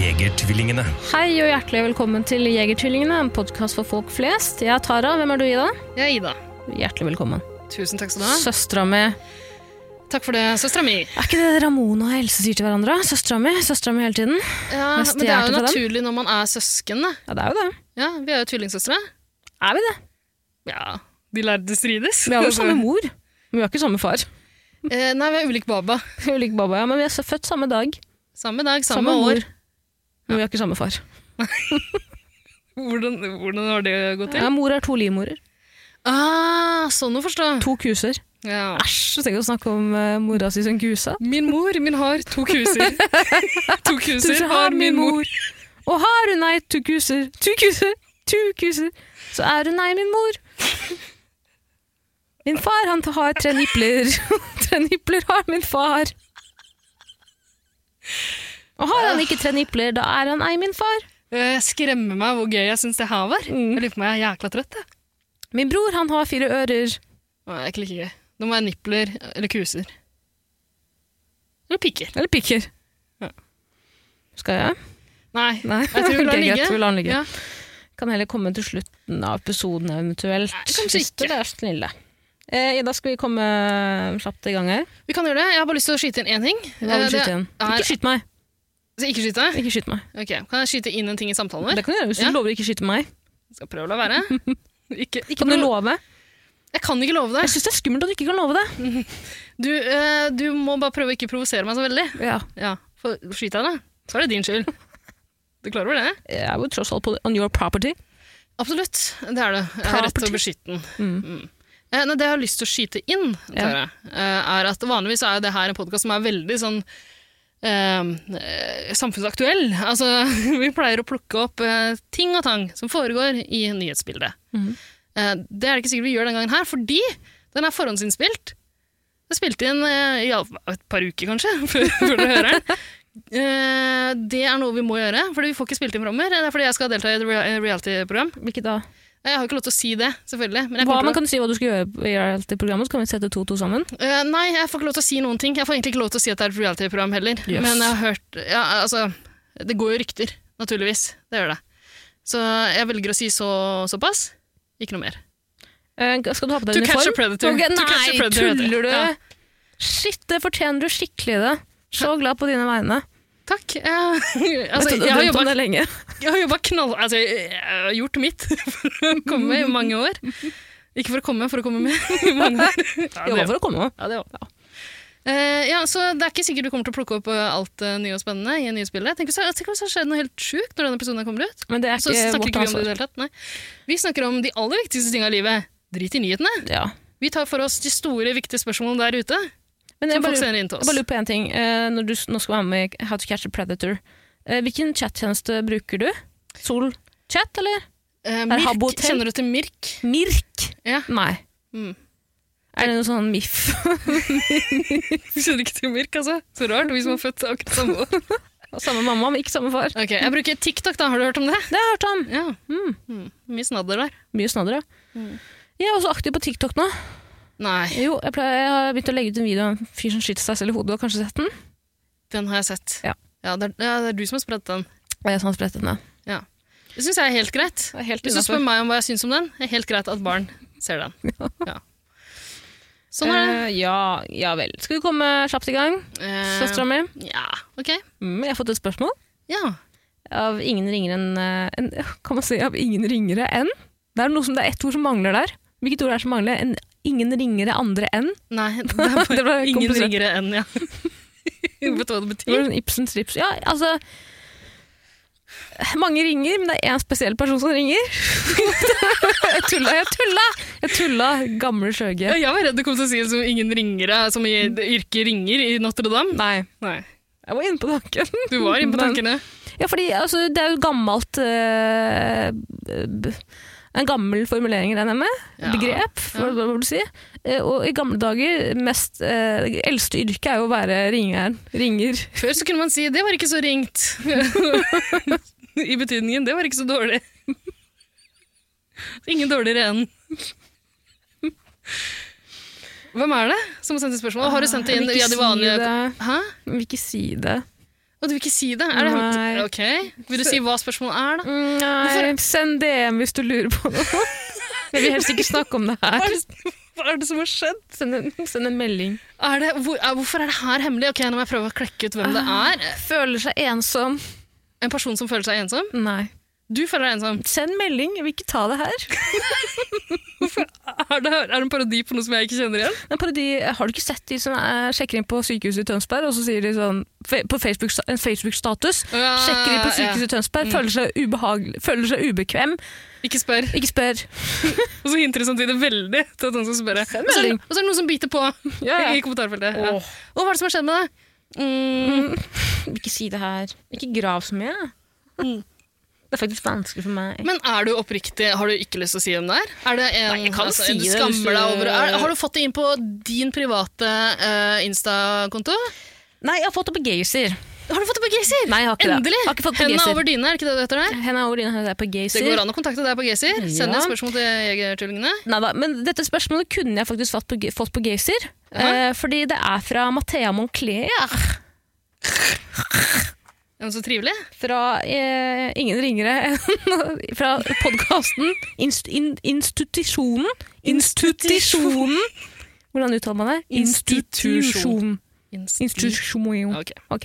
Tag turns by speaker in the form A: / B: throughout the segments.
A: Jegertvillingene.
B: Hei og hjertelig velkommen til Jegertvillingene, en podkast for folk flest. Jeg er Tara. Hvem er du, Ida?
C: Jeg er Ida.
B: Hjertelig velkommen.
C: Tusen takk skal du ha.
B: Søstera mi Er
C: Takk for det, søstera mi.
B: ikke det Ramona og Else sier til hverandra? Søstera mi, søstera mi hele tiden.
C: Ja,
B: Jeg
C: men det er
B: stjal
C: jo
B: fra dem.
C: naturlig når man er søsken, da.
B: Ja, det er jo det.
C: Ja, vi er jo tvillingsøstre.
B: Er vi det?
C: Ja, de lærde strides.
B: Vi har jo samme mor, men vi har ikke samme far.
C: Eh, nei, vi er ulik baba.
B: Vi er like baba, ja, men vi er så født samme dag.
C: Samme dag, samme,
B: Samme mor.
C: år.
B: Men vi har ikke samme far.
C: Hvordan, hvordan har det gått til?
B: Ja, mor er to livmorer.
C: Ah, sånn å forstå.
B: To kuser.
C: Ja.
B: Æsj, så tenk å snakke om eh, mora si som kusa.
C: Min mor, min har to kuser. to kuser
B: Tusen har min mor. Og har hun ei to kuser, to kuser, to kuser, så er hun ei min mor. Min far, han har tre nipler. tre nipler har min far. Og har han ikke tre nipler, da er han ei min far.
C: Eh, skremmer meg hvor gøy jeg syns det her var. Jeg lurer på om jeg er jækla trøtt. Jeg.
B: Min bror, han har fire ører.
C: Nei, det er ikke like gøy. Nå må jeg nipler eller kuser. Eller pikker.
B: Eller pikker.
C: Ja.
B: Skal jeg?
C: Nei.
B: Nei.
C: Jeg tror vi lar
B: Ok,
C: den ligge.
B: greit, vi lar den ligge.
C: Ja.
B: Kan heller komme til slutten av episoden eventuelt.
C: Nei, kanskje
B: hvis
C: ikke.
B: dere er snille. Eh, Ida, skal vi komme slapt i gang her?
C: Vi kan gjøre det. Jeg har bare lyst til å skyte inn én ting.
B: Hva vil
C: Eh,
B: du skyte
C: det
B: igjen?
C: er-
B: Ikke skyt meg!
C: Så Ikke skyte?
B: Ikke skyt meg.
C: Ok, Kan jeg skyte inn en ting i samtalen vår?
B: Det kan du gjøre hvis du
C: Ja.
B: lover å ikke skyte meg.
C: Skal prøve å la være. Ikke, ikke
B: Kan du
C: prøve-
B: love?
C: Jeg kan ikke love
B: Jeg
C: det.
B: syns det er skummelt at du ikke kan love det.
C: Du, eh, du må bare prøve å ikke provosere meg så veldig.
B: Ja,
C: Ja, For skyter jeg deg, så er det din skyld. Du klarer over det?
B: Jeg er jo tross alt på on your property.
C: Absolutt. Det er det. Jeg har rett til å beskytte den.
B: Mm.
C: Mm. Eh, nei, det jeg har lyst til å skyte inn,
B: Ja.
C: Tara, eh, er at vanligvis er jo det her en podkast som er veldig sånn eh, eh, samfunnsaktuell. Altså, vi pleier å plukke opp eh, ting og tang som foregår i nyhetsbildet.
B: Mhm.
C: Eh, det er det ikke sikkert vi gjør den gangen her, fordi den er forhåndsinnspilt. Det spilte inn eh, i alle- et par uker, kanskje, før, før dere hører den. Eh, det er noe vi må gjøre, for vi får ikke spilt inn framover. Det er fordi jeg skal delta i et rea- reality-program.
B: Hvilket da?
C: Jeg har jo ikke lov til å si det, selvfølgelig. Men jeg
B: Hva,
C: kommer til å-
B: men kan du si hva du skal gjøre i reality-programmet, så kan vi sette to og to sammen?
C: Eh, nei, jeg får ikke lov til å si noen ting. Jeg får egentlig ikke lov til å si at det er et reality-program heller.
B: Yes.
C: Men jeg har hørt ja, altså, Det går jo rykter, naturligvis. Det gjør det. Så jeg velger å si så, såpass. Ikke noe mer.
B: Eh, skal du ha på deg
C: To catch a
B: uniform?
C: predator.
B: Ok,
C: To
B: nei,
C: catch a predator heter det.
B: tuller du?
C: Ja.
B: Shit, det fortjener du skikkelig det. Så glad på dine vegne.
C: Takk. Jeg, altså,
B: Vet du, du
C: jeg, har
B: drømt om
C: jobbet,
B: det lenge.
C: jeg har jobba knall... Altså, jeg, jeg har gjort mitt for å komme i mange år. Ikke for å komme, for å komme med i mange år. Ja,
B: Jobba for å komme.
C: Ja, det var bra. Eh, ja, så Det er ikke sikkert du kommer til å plukke opp eh, alt eh, nye og spennende i nyhetsbildet. Tenk hvis det tenk hvis det har skjedd noe helt sjukt når denne episoden kommer ut.
B: Men det er
C: Så
B: ikke
C: snakker
B: vårt
C: ikke vi om det i
B: ansvar.
C: det hele tatt. Nei. Vi snakker om de aller viktigste tinga i livet. Drit i nyhetene.
B: Ja.
C: Vi tar for oss de store, viktige spørsmålene der ute.
B: Men jeg
C: Som folk
B: bare,
C: sender inn til
B: jeg bare
C: oss.
B: lurer på en ting. Eh, når du s- nå skal være med i How to catch a predator, eh, hvilken chattjeneste bruker du? Sol chat, eller?
C: Eh,
B: er Habbo
C: Mirk,
B: Hotel.
C: kjenner du til Mirk?
B: Mirk?
C: Ja.
B: Nei.
C: Mm.
B: Er det noe sånn MIF?
C: Du kjenner ikke til Mirk, altså? Så rart, vi som er født akkurat samme år.
B: samme mamma, men ikke samme far.
C: Ok, Jeg bruker TikTok, da. Har du hørt om det?
B: Det har jeg hørt om.
C: Ja.
B: Mm.
C: Mm. Mye snadder der.
B: Mye snadder, ja.
C: Mm.
B: Jeg er også aktiv på TikTok nå.
C: Nei,
B: Jo, jeg, pleier, jeg har begynt å legge ut en video av en fyr som skyter seg selv i hodet. Du har kanskje sett den?
C: den har jeg sett.
B: Ja.
C: det, er, ja, det er du som har spredt den.
B: Og jeg sånn som har spredt den, ja.
C: Det syns jeg er helt greit.
B: Det er helt
C: Hvis du
B: innenfor.
C: spør meg om hva jeg syns om den, er helt greit at barn ser den. Ja. Sånn er det.
B: Eh, ja, ja vel. Skal vi komme kjapt i gang,
C: Eh,
B: søstera mi?
C: Ja, ok.
B: Mm, jeg har fått et spørsmål.
C: Ja.
B: av ingen ringere enn eh, en, Kan man si av ingen ringere enn? Det er noe som det er ett ord som mangler der. Hvilket ord er det som mangler? En, ingen ringere andre enn?
C: Nei, det er bare
B: Det var
C: ingen
B: komplisert.
C: ringere enn, ja. Vet du hva det
B: Det var
C: betyr?
B: sånn Ibsens rips. Ja, altså Mange ringer, men det er én spesiell person som ringer. jeg tulla, jeg tulla! Jeg tulla, gamle
C: Ja,
B: skjøge.
C: Jeg var redd du kom til å si det som ingen ringere, som i yrket ringer i Notre Dame.
B: Mm. Nei,
C: Nei,
B: jeg var inne på tanken.
C: du var inne på tankene.
B: Ja, fordi altså, det er jo gammelt eh, b- En gammel formulering, regner jeg med.
C: Ja.
B: Begrep, hva, hva vil du si. Eh, og i gamle dager, mest eh, det eldste yrket er jo å være ringeren. Ringer.
C: Før så kunne man si 'det var ikke så ringt'. I betydningen 'det var ikke så dårlig'. Ingen dårligere enn. Hvem er det som har sendt inn spørsmål? Har du sendt det inn
B: Jeg vil
C: via
B: ikke
C: de
B: si
C: vanlige
B: det.
C: Hæ?
B: Jeg Vil ikke si det.
C: Å, du vil ikke si det? Er det
B: Nei.
C: Ok. Vil du si hva spørsmålet er, da?
B: Mm, Nei, send DM hvis du lurer på noe. Jeg vil helst ikke snakke om det
C: Hva
B: her.
C: er det, hva er det som har skjedd?
B: Send en, send en melding.
C: Er det, hvor, er, hvorfor er det her hemmelig? Ok, Nå må jeg prøve å klekke ut hvem det er.
B: Føler seg ensom.
C: En person som føler seg ensom?
B: Nei.
C: Du føler deg ensom.
B: Send melding, jeg vil ikke ta det her.
C: Er det, er det en parodi på noe som jeg ikke kjenner igjen?
B: Det er en parodi, har du ikke sett de som eh, sjekker inn på sykehuset i Tønsberg, og så sier de sånn fe- på Facebook, en Facebook-status Sjekker
C: Ah,
B: inn på sykehuset i
C: Mm.
B: Tønsberg, føler seg, ubehagelig- føler seg ubekvem,
C: Ja, ikke spør.
B: ikke spør.
C: Og så hinter det samtidig veldig til at noen skal spørre. Og så, er det-
B: melding.
C: og så er det noen som biter på
B: Ja, ja.
C: i kommentarfeltet. Ja.
B: Åh.
C: Og hva er det som har skjedd med deg? Mm,
B: Mm, ikke si det her. Ikke grav så mye.
C: Mm.
B: Det er faktisk vanskelig for meg.
C: men er du oppriktig? Har du ikke lyst til å si hvem det er? er det en,
B: Nei, jeg kan si
C: du
B: det
C: skammer
B: hvis du-
C: deg over er, Har du fått det inn på din private eh, Insta-konto?
B: Nei, jeg har fått det på Gaysir.
C: Har du fått det på Gaysir?
B: Nei, jeg har ikke
C: Endelig!
B: det. Jeg Har ikke fått det på
C: Henda
B: Gaysir.
C: over dyna, er det ikke det det heter der?
B: Henda over dine hører jeg på
C: Det går
B: Gaysir.
C: an å kontakte deg på Gaysir. Send
B: Ja.
C: et spørsmål til Jegertvillingene.
B: Neida, men dette spørsmålet kunne jeg faktisk fått på, fått på Gaysir,
C: Ja.
B: eh, fordi det er fra Mathea Moncler.
C: Ja, men Så trivelig.
B: fra eh, ingen ringere enn fra podkasten inst, in, Institusjonen. Institusjonen! Hvordan uttaler man det?
C: Institusjon. Institusjon.
B: Institusjon.
C: Ok.
B: Ok.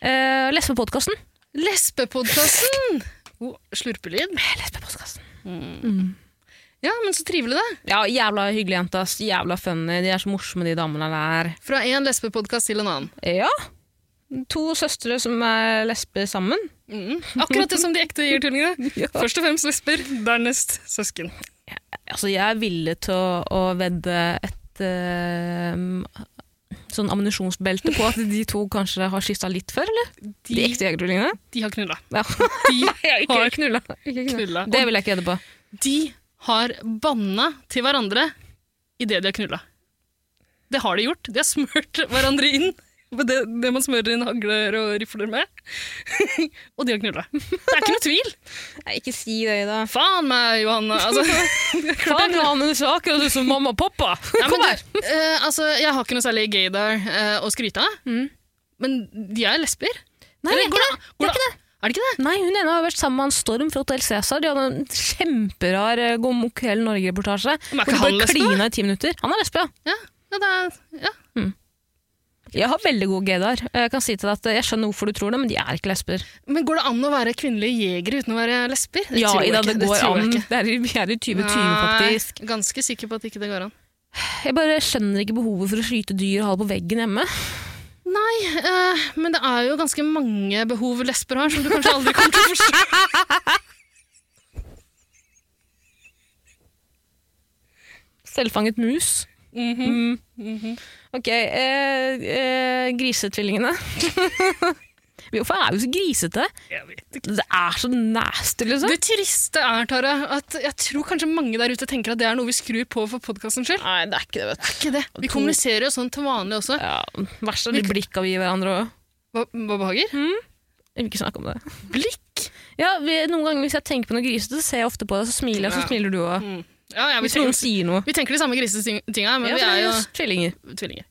B: Eh, les på podkasten.
C: Lesbepodkasten! God slurpelyd.
B: Eh, Les på podkasten.
C: Ja, men så trivelig, da.
B: Ja, jævla hyggelige jenter. ass. Jævla funny. De er så morsomme, de damene der.
C: Fra én lesbepodkast til en annen.
B: Ja. To søstre som er lesber sammen.
C: Mm. Akkurat det som de ekte gir-tullingene.
B: Ja.
C: Først og fremst lesber, dernest søsken.
B: Altså, jeg er villig til å, å vedde et eh, sånn ammunisjonsbelte på at de to kanskje har kyssa litt før, eller? De,
C: De,
B: ekte jegertvillingene?
C: de har knulla.
B: Ja.
C: De har
B: knulla.
C: knulla.
B: Det vil jeg ikke vedde på.
C: Og de har banna til hverandre idet de har knulla. Det har de gjort. De har smurt hverandre inn med det, det man smører inn hagler og rifler med. og de har knulla. Det er ikke noe tvil!
B: Nei, ikke si det, Ida.
C: Faen meg, Johanne! Altså,
B: Faen, Johanne, du så akkurat ut som mamma og pappa!
C: Ja, men
B: Kom
C: du,
B: her!
C: eh, altså, jeg har ikke noe særlig gaydar eh, å skryte av,
B: Mm.
C: men de er lesber.
B: Nei, det er ikke det.
C: Går det, er det ikke det?
B: Nei, hun ene har vært sammen med han Storm fra Hotell Cæsar. De hadde en kjemperar eh, God kveld Norge-reportasje.
C: Men er
B: Hvor
C: ikke
B: de
C: han
B: bare
C: lesbe?
B: klina i ti minutter. Han er lesbe, ja.
C: Ja, ja, det er, ja.
B: Jeg har veldig god gaydar. Jeg kan si til deg at eh, jeg skjønner hvorfor du tror det, men de er ikke lesber.
C: Men går det an å være kvinnelige jegere uten å være lesber? Det
B: Ja,
C: tror jeg
B: Ida,
C: ikke,
B: det går
C: tror jeg
B: an.
C: ikke.
B: Det er, i- vi er i 2020,
C: Nei,
B: faktisk.
C: Ganske sikker på at ikke det går an.
B: Jeg bare skjønner ikke behovet for å skyte dyr og ha det på veggen hjemme.
C: Nei, eh, men det er jo ganske mange behov lesber har, som du kanskje aldri kommer til å forstå.
B: Selvfanget mus.
C: Mhm.
B: Mm. Ok, eh, eh, grisetvillingene. Hvorfor er vi så grisete?
C: Jeg vet ikke.
B: Det er så nasty, liksom.
C: Det triste er, Tara, at jeg tror kanskje mange der ute tenker at det er noe vi skrur på for podkastens skyld.
B: Nei, det er ikke det, vet
C: Det er ikke det. Vi kommuniserer jo sånn til vanlig også.
B: Ja, Verst er de blikka vi gir hverandre òg.
C: Hva, hva behager?
B: Jeg vil ikke snakke om det.
C: Blikk?
B: Ja, vi, noen ganger Hvis jeg tenker på noe grisete, så ser jeg ofte på deg, så smiler jeg, så
C: Ja.
B: smiler du òg.
C: Mm. Ja, ja, vi,
B: Hvis noen
C: tenker,
B: sier noe.
C: vi tenker de samme grisetinga, men
B: Ja,
C: vi
B: for det
C: er
B: er
C: jo
B: jo tvillinger.
C: tvillinger.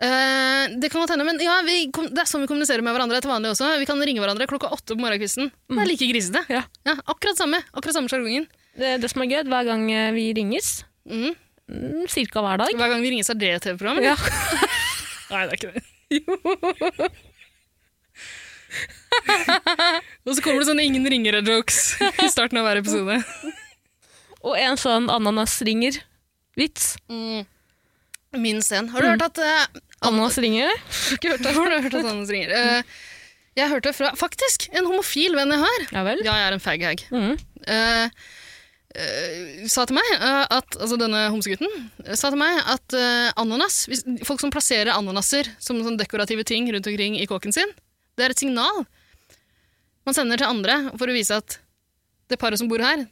C: Eh, det kan godt hende, men ja, vi kom, det er sånn vi kommuniserer med hverandre til vanlig også. Vi kan ringe hverandre klokka åtte på morgenkvisten. Det er like grisete.
B: Mm. Ja.
C: Ja, akkurat samme akkurat samme sjargongen.
B: Det, det som er gøy, hver gang eh, vi ringes,
C: Mm.
B: mm, cirka hver dag
C: Hver gang vi ringer, så er det et TV-program.
B: ja.
C: Nei, det er ikke det. Og så kommer det sånne ingen ringere-jokes i starten av hver episode.
B: Og en sånn ananasringer-vits.
C: Mm. Minst én. Har du hørt at eh,
B: Ananasringer?
C: ikke hørt det. Hvor har du hørt at Anders ringer? Eh, jeg hørte fra faktisk en homofil venn jeg har.
B: Ja vel?
C: Ja, jeg er en faghag.
B: Mhm.
C: Eh, eh, sa til meg eh, at, altså Denne homsegutten eh, sa til meg at eh, ananas hvis, Folk som plasserer ananaser som sånn dekorative ting rundt omkring i kåken sin, det er et signal Man sender til andre for å vise at det paret som bor her,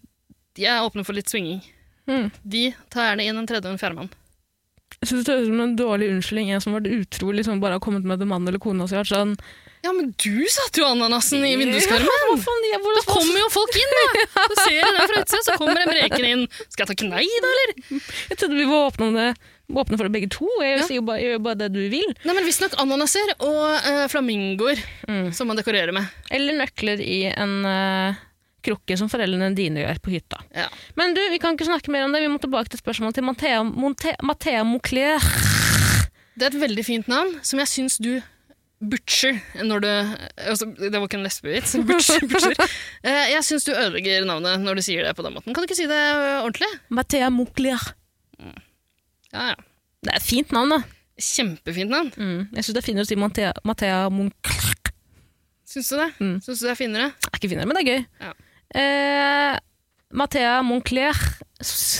C: de er åpne for litt svinging.
B: Mm.
C: De tar gjerne inn en tredje og en fjerdemann.
B: Jeg synes det høres ut som en dårlig unnskyldning. En som har vært utro, liksom bare har kommet med det mannen eller kona si. og vært Sånn,
C: Ja, men du satte jo ananasen i vinduskarmen!
B: Hva faen, jeg, hvordan,
C: Da kommer jo folk inn, da! Du ser det der fra utsida, så kommer en breker inn. Skal jeg takke nei, da, eller?
B: jeg trodde vi var åpne, om det, åpne for det begge to. Jeg sier jo bare, jeg gjør bare det du vil.
C: Nei, men Visstnok ananaser og eh, flamingoer som man dekorerer med.
B: Eller nøkler i en eh, krukke, som foreldrene dine gjør på hytta.
C: Ja.
B: Men du, vi kan ikke snakke mer om det. Vi må tilbake til spørsmålet til Mathea, Monte, Mathea Moclair.
C: Det er et veldig fint navn, som jeg syns du butcher når du altså, Det var ikke en lesbevits. Butcher, butcher. Eh, Jeg syns du ødelegger navnet når du sier det på den måten. Kan du ikke si det ø, ordentlig?
B: Mathea Moclair.
C: Ja, ja.
B: Det er et fint navn, da.
C: Kjempefint navn.
B: Mm. Jeg syns det er finere å si Mathea, Mathea Monclair.
C: Syns du det?
B: Mm.
C: Syns du det er finere?
B: Det er ikke finere, men det er gøy.
C: Ja.
B: Eh, Mathea Monclair s-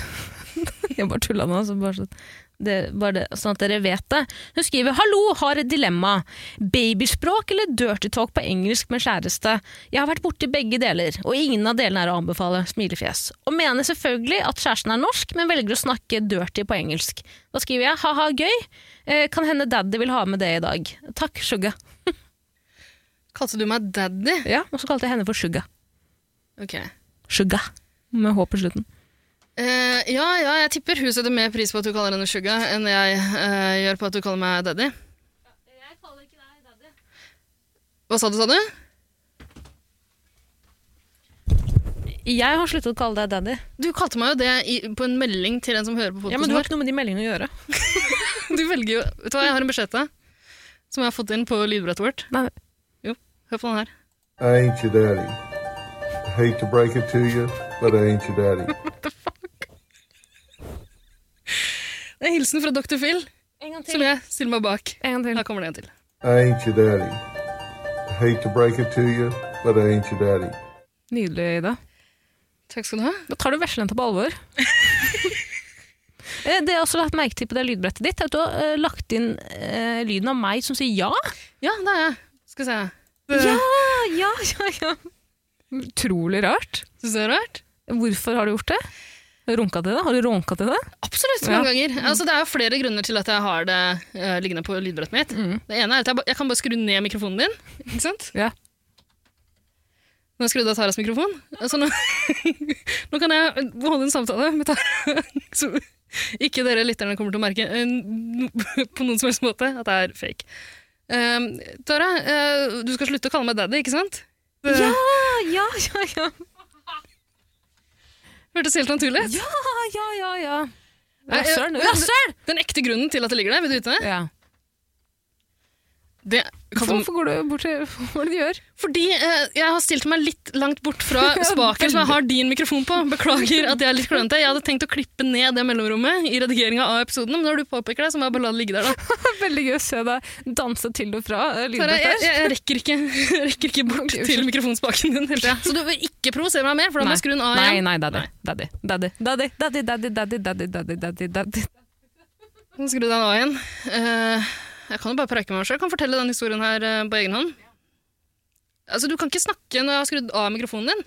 B: Jeg bare tulla nå. Så bare, sånn- det, bare det, sånn at dere vet det. Hun skriver 'Hallo, har et dilemma. Babyspråk eller dirty talk på engelsk med kjæreste? Jeg har vært borti begge deler, og ingen av delene er å anbefale. Smilefjes. Og mener selvfølgelig at kjæresten er norsk, men velger å snakke dirty på engelsk. Da skriver jeg 'ha-ha, gøy'. Eh, kan hende daddy vil ha med det i dag. Takk, Suga.
C: Kalte du meg daddy?
B: Ja, og så kalte jeg henne for Suga.
C: Ok.
B: Suga. Med H på slutten.
C: Eh, ja, ja, jeg tipper hun setter mer pris på at du kaller henne Suga enn jeg eh, gjør på at du kaller meg daddy. Hva sa du, sa du?
B: Jeg har sluttet å kalle deg daddy.
C: Du kalte meg jo det i, på en melding til en som hører på podkasten.
B: ikke noe med de meldingene å gjøre.
C: Du velger jo Vet du hva, jeg har en beskjed til deg. Som jeg har fått inn på lydbrettet vårt.
B: Nei.
C: Jo, hør på den her.
D: I ain't your daddy. I hate to break it to you, but I ain't your daddy.
C: Det er hilsen fra Dr. Phil,
B: En gang
C: som jeg stiller meg bak.
B: En gang til.
C: Her kommer det en til.
D: I ain't your daddy. I hate to break it to you, but I ain't your daddy.
B: Nydelig, Ida.
C: Takk skal du ha.
B: Da tar du veslejenta på alvor. Eh, det jeg også har lagt merke til på det lydbrettet ditt, er at du har eh, lagt inn eh, lyden av meg som sier ja.
C: Ja, det er jeg. Skal vi se. Det-
B: ja, ja, ja. Utrolig rart.
C: Syns du det er rart?
B: Hvorfor har du gjort det? Runka til det? Har du ronka til det?
C: Absolutt, mange ganger. Altså, det er jo flere grunner til at jeg har det eh, liggende på lydbrettet mitt. Det ene er at jeg, ba- jeg kan bare skru ned mikrofonen din. Ikke sant?
B: Mm. Ja.
C: Nå har jeg skrudd av Taras mikrofon. Altså, nå, nå kan jeg holde en samtale med Tara. Så ikke dere lytterne kommer til å merke eh, no- på noen som helst måte at det er fake. Um, Tara, eh, du skal slutte å kalle meg daddy, ikke sant? Det
B: ja, ja, ja.
C: hørtes helt naturlig ut.
B: Ja, Ah, ja, ja, ja.
C: Nei, eh,
B: Rasshøl!
C: men-
B: Rasshøl!
C: Den ekte grunnen til at det ligger der, vil du vite det?
B: Ja.
C: det kalte,
B: Hvorfor går du bort til Hva er det du gjør?
C: Fordi eh, jeg har stilt meg litt langt bort fra
B: Ja,
C: spaken
B: veldig.
C: som jeg har din mikrofon på. Beklager at jeg er litt klønete. Jeg hadde tenkt å klippe ned det mellomrommet i redigeringa av episoden, men når du påpeker det, så må jeg bare la det ligge der, da.
B: Veldig gøy å se deg danse til og fra eh,
C: Sara, jeg,
B: lydbrettet.
C: jeg, jeg, rekker ikke, jeg rekker ikke bort
B: Ok,
C: til
B: unnskyld.
C: mikrofonspaken din hele tida. Så du vil ikke provosere meg mer, for da må jeg skru den av
B: Nei,
C: igjen.
B: nei, daddy. Daddy, daddy, daddy, daddy, daddy, daddy, daddy, daddy, daddy, daddy.
C: Nå Skru den av igjen. Eh, jeg kan jo bare preike med meg sjøl. Kan fortelle den historien her eh, på egen hånd. Altså, Du kan ikke snakke når jeg har skrudd av mikrofonen din.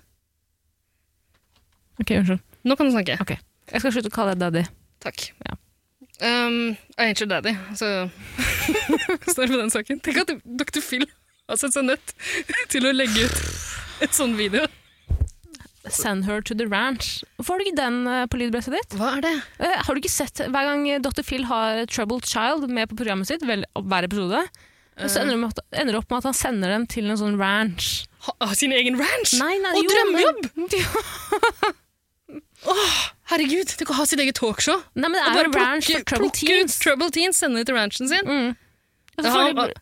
B: Ok, unnskyld.
C: Nå kan du snakke.
B: Ok. Jeg skal slutte å kalle deg daddy.
C: Takk.
B: Ja.
C: Um, I ain't your daddy, så står det på den saken. Tenk at Dr. Phil har sett seg nødt til å legge ut et sånn video.
B: Send her to the ranch. Hvorfor har du ikke den eh, på lydbrettet ditt?
C: Hva er det?
B: Eh, har du ikke sett hver gang eh, Dr. Phil har Troubled Child med på programmet sitt, vel, hver episode, så ender det med at- ender det opp med at han sender dem til en sånn ranch.
C: Ha, ha sin egen ranch?
B: Nei, nei,
C: Og
B: jo,
C: drømmejobb!
B: men- Ja.
C: Herregud, tenk å ha sitt eget talkshow.
B: Nei, men det
C: Og
B: er en ranch for
C: plukke-
B: Troubled
C: plukke ut
B: Teens.
C: Trouble Teens, sende det til ranchen sin.
B: Mm.
C: Ja,
B: Altså,
C: han,
B: for,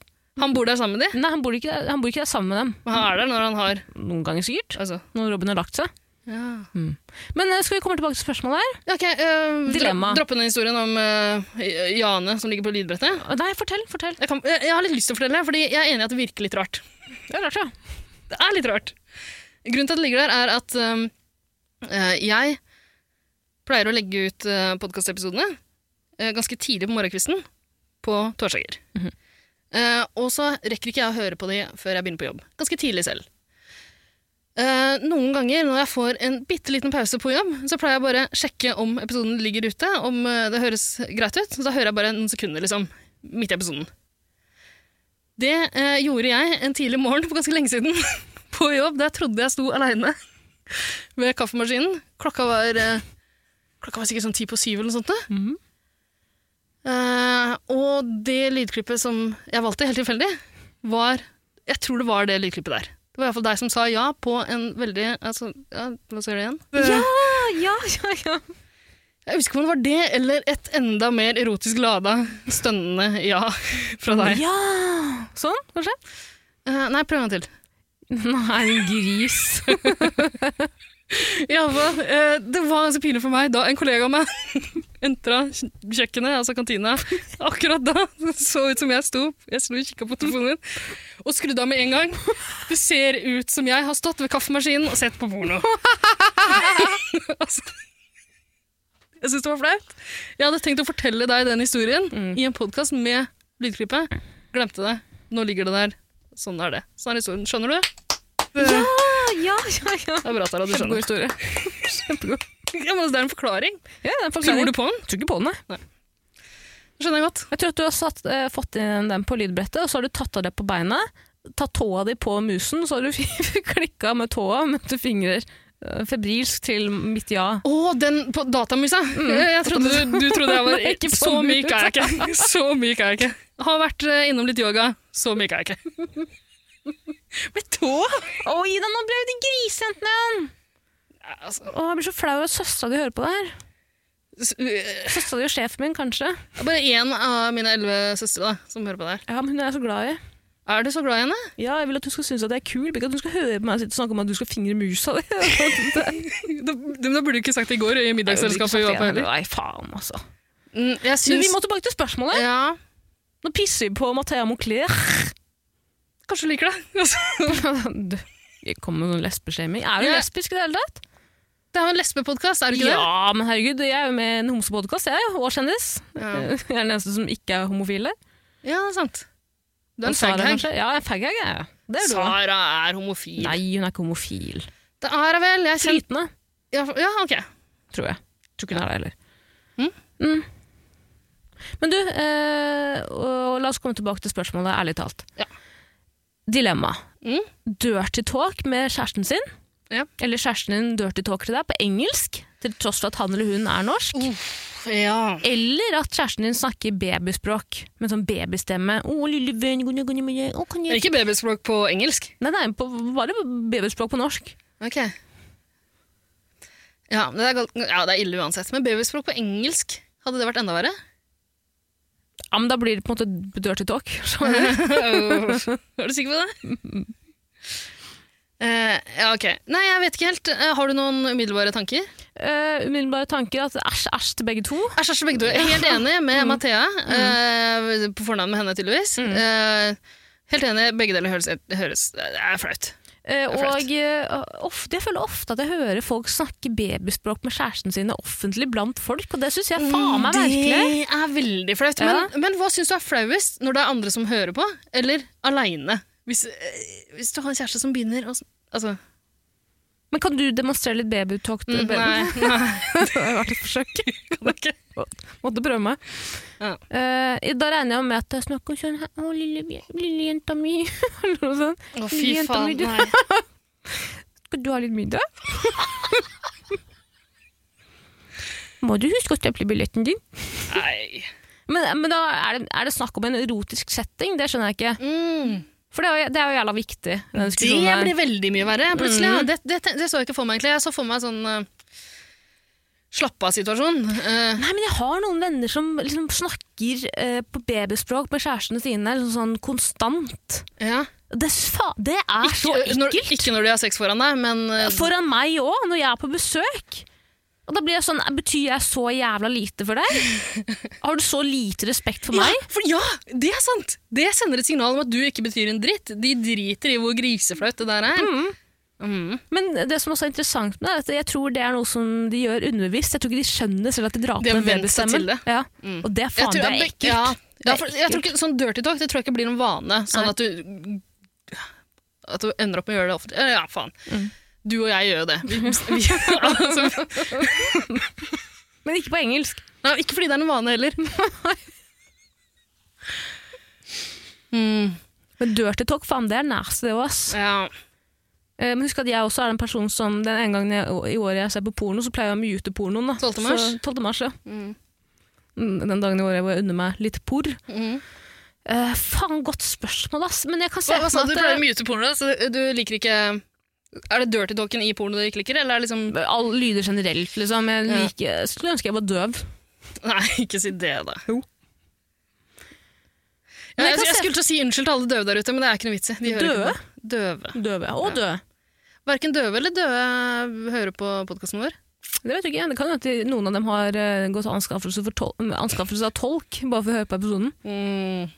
C: han bor der sammen med de,
B: nei, han bor, ikke, der- han bor ikke der sammen med dem.
C: men han er der når han har
B: Noen ganger sikkert,
C: altså.
B: når Robin har lagt seg.
C: ja.
B: Men eh, skal vi komme tilbake til spørsmålet her?
C: Ok, eh,
B: Dilemma.
C: dra- Droppe den historien om eh, Jane som ligger på lydbrettet.
B: Å, Nei, fortell, fortell.
C: Jeg, kan, jeg, jeg har litt lyst til å fortelle, fordi jeg er enig i at det virker litt rart.
B: Det er rart, ja.
C: Det er litt rart. Grunnen til at det ligger der, er at um, eh, jeg pleier å legge ut uh, podkastepisodene eh, ganske tidlig på morgenkvisten på torsdager. Eh, og så rekker ikke jeg å høre på de før jeg begynner på jobb. Ganske tidlig selv. Eh, noen ganger når jeg får en bitte liten pause på jobb, så pleier jeg bare å sjekke om episoden ligger ute, om eh, det høres greit ut. Så da hører jeg bare noen sekunder, liksom, midt i episoden. Det eh, gjorde jeg en tidlig morgen for ganske lenge siden på jobb, der jeg trodde jeg sto aleine ved kaffemaskinen. Klokka var, eh, klokka var sikkert sånn ti på syv eller noe sånt. da.
B: Mhm.
C: Eh, og det lydklippet som jeg valgte, helt tilfeldig, var Jeg tror det var det lydklippet der. Det var iallfall deg som sa ja på en veldig altså, ja, La oss gjøre det igjen.
B: Ja, ja, ja, ja.
C: Jeg husker ikke om det var det eller et enda mer erotisk lada, stønnende ja fra deg.
B: ja. Sånn, kanskje?
C: Eh, nei, prøv en gang til.
B: Nei, en gris.
C: I alle fall, eh, det var ganske pinlig for meg da en kollega av meg entra kj- kjøkkenet, altså kantina, akkurat da. Det så ut som jeg sto. Jeg sto og kikka på telefonen min, og skrudde av med en gang. Det ser ut som jeg har stått ved kaffemaskinen og sett på porno. altså, jeg syns det var flaut. Jeg hadde tenkt å fortelle deg den historien i en podkast med lydklippet. Glemte det. Nå ligger det der. Sånn er det. Sånn er historien. Skjønner du?
B: Ja, ja, ja, ja.
C: Det er bra, Tara. Du skjønner.
B: historie. Kjempegod.
C: Ja, men altså, det er en forklaring.
B: Ja, den forklarer-
C: Tror du på den?
B: tror ikke på den, jeg.
C: Det skjønner jeg godt.
B: Jeg tror at du har satt, eh, fått inn den på lydbrettet, og så har du tatt av det på beinet, tatt tåa di på musen, så har du klikka med tåa med du fingrer eh, febrilsk til mitt ja.
C: Å, den på datamusa! Jeg, jeg trodde Mm. du, du trodde jeg var
B: Nei, ikke på
C: Så myk er jeg
B: musa.
C: ikke. Så myk er jeg ikke. Har vært eh, innom litt yoga. Så myk er jeg ikke. Med tå?
B: Å, Ida, nå ble det grisejenten igjen!
C: Ja, Altså,
B: Å, jeg blir så flau at søstera di hører på det her.
C: s- øh,
B: Søstera di og sjefen min, kanskje.
C: bare én av mine elleve søstre da, som hører på det her.
B: Ja, men hun er jeg så glad i.
C: Er du så glad i henne?
B: Ja, jeg vil at hun skal synes at jeg er kul, ikke at hun skal høre på meg sitte og snakke om at du skal fingre musa di.
C: Da, men da burde du ikke sagt det i går i middagsselskapet vi var på heller.
B: Nei, faen, altså.
C: Mm, sånn Jeg
B: Du, vi
C: syns
B: må tilbake til spørsmålet.
C: Ja,
B: Nå pisser vi på Mathea Moclair.
C: kanskje du liker det. Altså,
B: du, vi kommer med noen lesbeshaming. Er du
C: Ja.
B: lesbisk i det hele tatt?
C: Det er jo en lesbepodkast, er det ikke det?
B: Ja, men herregud, jeg er jo med i en homsepodkast, jeg er jo årskjendis.
C: Ja.
B: Jeg er den eneste som ikke er homofil der.
C: Ja, det er sant. Du er
B: Og
C: en
B: Sara,
C: faghang.
B: kanskje. Ja, jeg er faghag, jeg. er jo. Det er du. da.
C: Sara er homofil.
B: Nei, hun er ikke homofil.
C: Det er hun vel. Jeg kjenner
B: Flytende,
C: ja, for- ja, ok.
B: tror jeg. Tror ikke hun er det heller.
C: Mm.
B: Mm. Men du, eh, og la oss komme tilbake til spørsmålet, ærlig talt.
C: Ja.
B: Dilemma.
C: Mm.
B: Dirty talk med kjæresten sin,
C: Ja.
B: eller kjæresten din dirty talk til deg på engelsk, til tross for at han eller hun er norsk.
C: Ja.
B: Eller at kjæresten din snakker babyspråk med sånn babystemme. Å, lille venn, gunne, gunne, gunne, å, kan
C: Men
B: jeg...
C: ikke babyspråk på engelsk.
B: Nei, nei, på, bare babyspråk på norsk.
C: Ok. Ja, men det er, gal- ja, det er ille uansett. Men babyspråk på engelsk, hadde det vært enda verre?
B: Ja, men da blir det på en måte dirty talk. skjønner du?
C: er du sikker på det? Eh, ja, ok. Nei, jeg vet ikke helt. Eh, har du noen umiddelbare tanker?
B: Eh, umiddelbare tanker at æsj, æsj til begge to.
C: Jeg er kjæreste begge to. Jeg er helt enig med Mathea. eh, på fornavn med henne, tydeligvis. Eh, helt enig. Begge deler høres, høres Det er flaut.
B: Eh,
C: er flaut.
B: og eh, ofte, jeg føler ofte at jeg hører folk snakke babyspråk med kjæresten sine offentlig blant folk, og det syns jeg faen meg merkelig.
C: Mm, Det er veldig flaut. Men, men hva syns du er flauest? Når det er andre som hører på, eller aleine? Hvis, eh, hvis du har en kjæreste som begynner å sn- Altså
B: Men kan du demonstrere litt babytalk? til
C: Mm, Nei.
B: baby?
C: nei.
B: det har vært et forsøk.
C: Okay.
B: Måtte prøve meg.
C: Ja.
B: Eh, da regner jeg med at jeg snakker sånn her, Å, lille, lille jenta mi. Eller noe sånt.
C: Å, fy
B: Jenta mi,
C: faen.
B: du-
C: Nei.
B: Skal du ha litt middag? Må du huske å steple billetten din?
C: nei.
B: Men, men da er det, er det snakk om en erotisk setting? Det skjønner jeg ikke.
C: Mm.
B: For det er jo, det er jo jævla viktig. Den
C: Det
B: diskusjonen her.
C: blir veldig mye verre, plutselig. ja. Det, det, det så jeg ikke for meg, egentlig. Jeg så for meg sånn uh, slapp av-situasjon. Eh,
B: Nei, men jeg har noen venner som liksom snakker eh, på babyspråk med kjærestene sine liksom sånn konstant.
C: ja.
B: Det, er s- fa- det er så
C: Ikke- Når,
B: ekkelt!
C: ikke når de har sex foran deg, men eh,
B: Foran meg òg, når jeg er på besøk. Og da blir jeg sånn, Betyr jeg så jævla lite for deg? Har du så lite respekt for meg?
C: Ja, for, ja, det er sant! Det sender et signal om at du ikke betyr en dritt. De driter i hvor griseflaut det der er. Mm.
B: Men det som også er interessant med det, er at jeg tror det er noe som de gjør underbevisst. Jeg tror ikke de skjønner selv at de drar
C: De
B: på
C: har
B: den
C: vent seg
B: babystemmen.
C: til det. Mm.
B: Ja. Og det er faen, det er
C: jeg-
B: ekkelt.
C: Ja, ja, for,
B: Det er
C: jeg tror ikke, sånn dirty talk det tror jeg ikke blir noen vane. Sånn
B: Nei.
C: at du, at du ender opp med å gjøre det offentlig. Ja, Ja, faen. Du og jeg gjør jo det. Vi, vi, altså,
B: Men ikke på engelsk.
C: nei, ikke fordi det er en vane heller. Mm,
B: Men dirty talk, faen, det er nasty, det også.
C: ja.
B: Eh, Men husk at jeg også er den personen som den ene gangen jeg, i året jeg ser på porno, så pleier jeg å mute pornoen. Da.
C: 12. mars.
B: Så, 12. mars ja.
C: Mm.
B: Mm, Den dagen i året hvor jeg unner meg litt por.
C: Mm.
B: Eh, faen, godt spørsmål, ass. Men jeg kan se
C: Hva, hva sa du? Du
B: for
C: pleier å
B: meg
C: mute porno, så du liker ikke Er det dirty talken i porno du ikke liker, eller er det liksom
B: at eh, all lyder generelt, liksom. Jeg
C: Ja.
B: liker, skulle ønske jeg var døv.
C: Nei, ikke si det, da.
B: Jo.
C: Ja,
B: Men jeg
C: jeg,
B: kan
C: jeg
B: se-
C: skulle til å si unnskyld til alle døve der ute, men det er ikke noe vits i. De hører ikke
B: Døve?
C: på. Døve.
B: Døv, ja. Og død.
C: Verken døve eller døde hører på podkasten vår.
B: Det vet du ikke. Det kan jo at de- noen av dem har eh, gått anskaffelse, for tol mm, anskaffelse av tolk, bare for å høre på episoden.
C: Mm.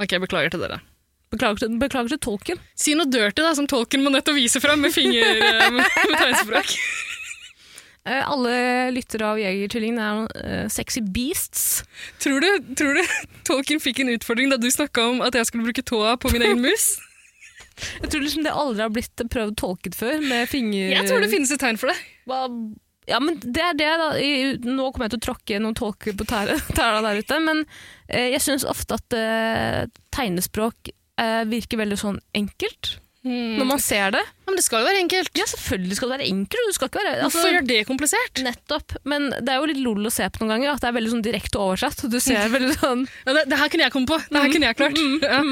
C: Ok, beklager til dere.
B: Beklager til, beklager til tolken.
C: Si noe dirty da, som tolken må nettopp vise fram med finger eh, med, med tegnspråk.
B: Eh, alle lyttere av Jegertvillingene er eh, sexy beasts.
C: Tror du, tror du tolken fikk en utfordring da du snakka om at jeg skulle bruke tåa på min egen mus?
B: Jeg tror liksom det aldri har blitt prøvd tolket før, med finger...
C: Jeg tror det finnes et tegn for det.
B: Hva- Ja, men det er det da. I- Nå kommer jeg til å tråkke noen tolker på tære- tæra der ute, men eh, jeg synes ofte at eh, tegnespråk eh, virker veldig sånn enkelt, når man ser det.
C: Ja, men det skal jo være enkelt.
B: Mm. Ja, selvfølgelig skal det være enkelt, og du skal ikke være... altså-
C: Hvorfor gjør det komplisert?
B: Nettopp, men det er jo litt lol å se på noen ganger, at det er veldig sånn direkte oversatt. Du ser veldig sånn...
C: Ja, det, det her kunne jeg komme på. Det her
B: Mm,
C: kunne jeg klart. Ja.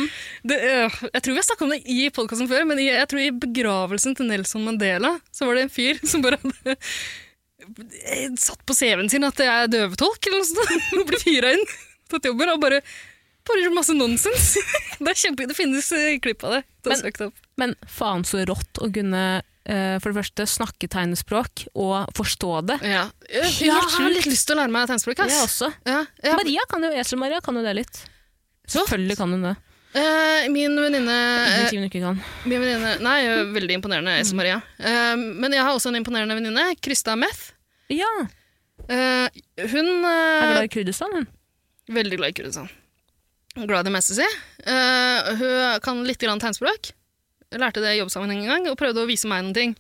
C: Det, øh, jeg tror vi har snakka om det i podkasten før, men i, jeg tror i begravelsen til Nelson Mandela så var det en fyr som bare hadde eh, satt på CV-en sin at jeg er døvetolk, eller noe sånt. Og ble fyra inn, tatt jobben, og bare bare gjør masse nonsens. Det er kjempe, det finnes eh, klipp av det. det
B: Men-
C: er søkt opp.
B: Men faen så rått å kunne, eh, for det første, snakke tegnespråk og forstå det.
C: Ja. Jeg, jeg
B: Ja,
C: har sjukt
B: litt-
C: lyst til å lære meg tegnspråk.
B: Jeg
C: ass.
B: også.
C: Ja, ja.
B: Maria kan jo, Esel-Maria kan jo det litt.
C: Så?
B: Selvfølgelig kan hun det.
C: Eh, min venninne eh,
B: Ingenting hun ikke kan.
C: Min venninne Nei, jeg er veldig imponerende, Else Maria. Eh, men jeg har også en imponerende venninne, Krista Meth.
B: Ja,
C: Eh, hun
B: er
C: eh,
B: glad i Kurdistan, hun.
C: Veldig glad i Kurdistan. Glad i det meste, si. Eh, hun kan litt grann tegnspråk. Jeg lærte det i jobbsammenheng en gang, og prøvde å vise meg noen ting.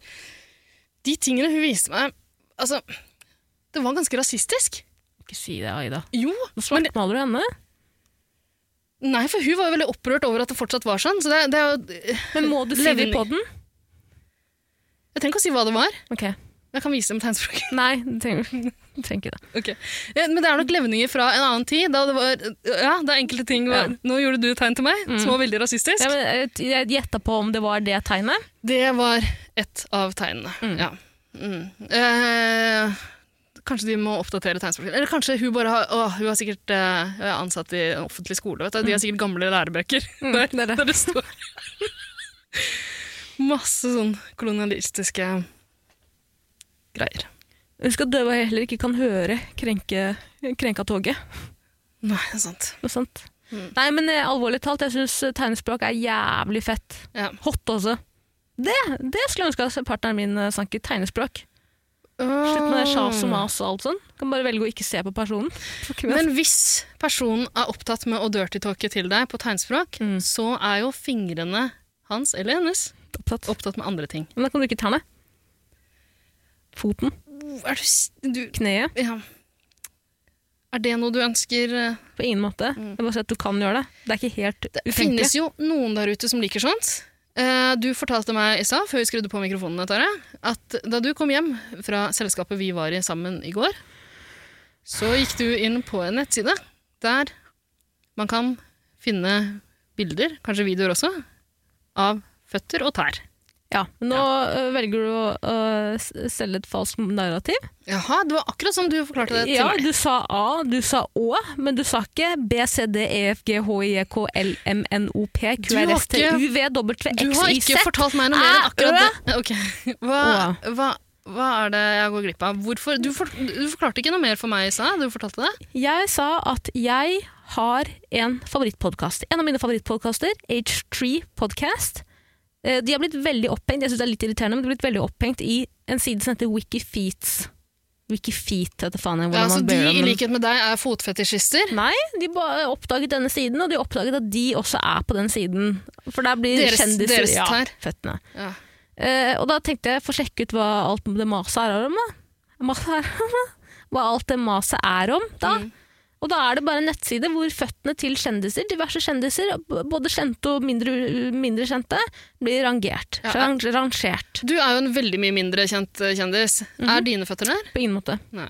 C: De tingene hun viste meg Altså, det var ganske rasistisk.
B: Ikke si det, Aida.
C: Jo,
B: Nå
C: men
B: svartmaler du henne.
C: Nei, for hun var jo veldig opprørt over at det fortsatt var sånn. Så det, det er jo
B: Men må du si det
C: Levning.
B: i podden?
C: Jeg trenger ikke å si hva det var.
B: Ok.
C: Jeg kan vise dem tegnspråket.
B: Nei, du trenger, du trenger ikke det.
C: Ok. Eh, Men det er nok levninger fra en annen tid. Da det var, ja, det er enkelte ting var,
B: Ja. Mm.
C: Nå gjorde du et tegn til meg som var veldig rasistisk.
B: Ja, men jeg- jeg gjetta på om det var det tegnet.
C: Det var ett av tegnene. Ja. Mm. Eh, kanskje de må oppdatere tegnspråket. Eller kanskje hun bare har, å, hun har sikkert eh, hun er ansatt i en offentlig skole. Vet du.
B: Mm.
C: De har sikkert gamle lærebøker der,
B: det er det.
C: der det står masse sånn kolonialistiske greier.
B: Husk at døve heller ikke kan høre krenke, krenka toget.
C: Nei, det er sant.
B: Noe sant?
C: Mm.
B: Nei, men eh, alvorlig talt, jeg syns tegnespråk er jævlig fett.
C: Ja.
B: Hot også. Det, det skulle jeg ønske at partneren min eh, snakket tegnespråk. Slutt med
C: Ah.
B: det sjas og mas og alt sånn. Kan bare velge å ikke se på personen.
C: Men hvis personen er opptatt med å dirty-talke til deg på tegnspråk, så er jo fingrene hans eller hennes
B: opptatt.
C: opptatt med andre ting.
B: Men da kan du ikke tærne. Foten.
C: Er, du, s- du,
B: Kneet.
C: ja. er det noe du ønsker eh?
B: På ingen måte. Jeg bare sier at du kan gjøre det. Det er ikke helt
C: Det
B: utenkelig.
C: finnes jo noen der ute som liker sånt. Eh, Du fortalte meg i stad, før vi skrudde på mikrofonene, Tara, at da du kom hjem fra selskapet vi var i sammen i går, så gikk du inn på en nettside der man kan finne bilder, kanskje videoer også, av føtter og tær.
B: Ja. Nå øh, velger du å øh, s- selge et falskt narrativ.
C: Jaha, det var akkurat som du forklarte det til
B: Ja,
C: meg.
B: du sa A, du sa Å, men du sa ikke B, C, D, E, F, G, H, I, E, K, L, M, N, O, P,
C: Du
B: Q,
C: har
B: R, S, T,
C: ikke-
B: U, V, W,
C: Du
B: X,
C: har
B: Y,
C: ikke
B: Z.
C: fortalt meg noe mer enn
B: Æ,
C: akkurat det. Ok, hva, hva, hva er det jeg går glipp av? Hvorfor? Du, for, du forklarte ikke noe mer for meg i stad, du fortalte det.
B: Jeg sa at jeg har en favorittpodkast. En av mine favorittpodkaster, H3 Podcast. Eh, De har blitt veldig opphengt jeg synes det er litt irriterende, men de har blitt veldig opphengt i en side som heter Wikifeets. Wikifeet heter faen jeg
C: Ja,
B: hvordan man
C: så Altså, de,
B: ber om
C: i
B: men-
C: likhet med deg, er fotfetisjister?
B: Nei, de bare oppdaget denne siden, og de oppdaget at de også er på den siden. For der blir
C: Deres-
B: kjendiser
C: deres
B: ja,
C: tær.
B: føttene.
C: Ja.
B: Eh, og da tenkte jeg få sjekke ut hva alt det maset er om. da. Maset er om, da. Hva alt det maset er om, da.
C: Mm.
B: Og da er det bare en nettside hvor føttene til kjendiser, diverse kjendiser, b- både kjente og mindre, mindre kjente, blir rangert.
C: Ja,
B: Rang, rangert,
C: Du er jo en veldig mye mindre kjent eh, kjendis.
B: Mhm.
C: Er dine føtter der?
B: på ingen måte.
C: Nei.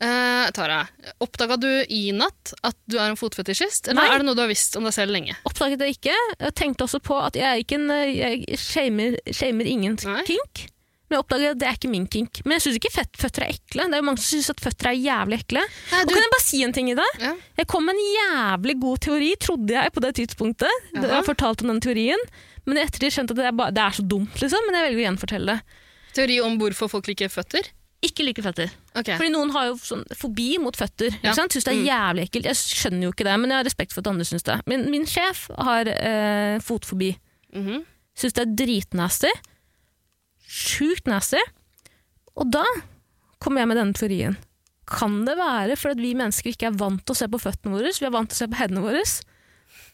C: Eh, Tara, oppdaga du i natt at du er en fotfetisjist, eller
B: Nei.
C: er det noe du har visst om deg selv lenge?
B: Oppdaget det ikke. Jeg tenkte også på at jeg, er ikke en, jeg shamer, shamer ingen
C: Nei.
B: kink. Men jeg oppdaget at det er ikke min kink. Men jeg syns ikke fett, føtter er ekle. Det er jo mange som syns at føtter er jævlig ekle.
C: Nei,
B: Og
C: du,
B: kan jeg bare si en ting i det?
C: ja.
B: Jeg kom med en jævlig god teori, trodde jeg, på det tidspunktet.
C: Jaha.
B: Jeg har fortalt om den teorien. Men etter det skjønte jeg at det er, bare, det er så dumt, liksom. Men jeg velger å gjenfortelle det.
C: Teori om hvorfor folk liker føtter?
B: Ikke like føtter.
C: Ok.
B: Fordi noen har jo sånn fobi mot føtter.
C: Ja.
B: Ikke sant? Syns det er jævlig ekkelt. Jeg skjønner jo ikke det, men jeg har respekt for at andre syns det. Min, min sjef har eh, fotfobi.
C: Mhm.
B: Syns det er dritnasty. Sjukt nasty. Og da kommer jeg med denne teorien. Kan det være fordi at vi mennesker ikke er vant til å se på føttene våre, vi er vant til å se på hendene våre?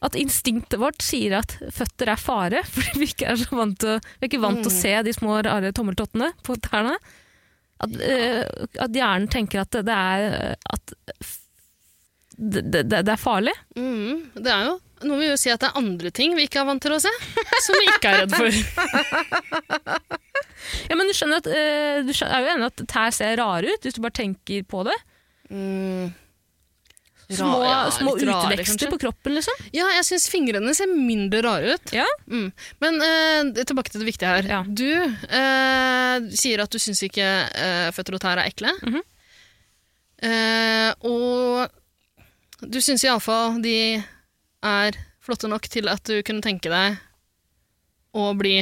B: At instinktet vårt sier at føtter er fare, fordi vi ikke er så vant til, å- vi er ikke vant til å se de små rare tommeltottene på tærne. At, eh, at hjernen tenker at det, det er eh, at f- det, det, det er farlig.
C: Mhm. Det er jo noe vi jo si at det er andre ting vi ikke er vant til å se, som vi ikke er redd for.
B: Ja, men du skjønner at eh, du skjø- er jo enig at tær ser rare ut, hvis du bare tenker på det.
C: Mm. Ra-
B: Små,
C: ja,
B: små
C: litt rare,
B: utvekster
C: kanskje.
B: på kroppen, liksom.
C: Ja, jeg syns fingrene ser mindre rare ut.
B: Ja.
C: Mm. Men eh, tilbake til det viktige her.
B: Ja.
C: Du eh, sier at du syns ikke eh, føtter og tær er ekle.
B: Mhm.
C: Eh, og du syns iallfall de er flotte nok til at du kunne tenke deg å bli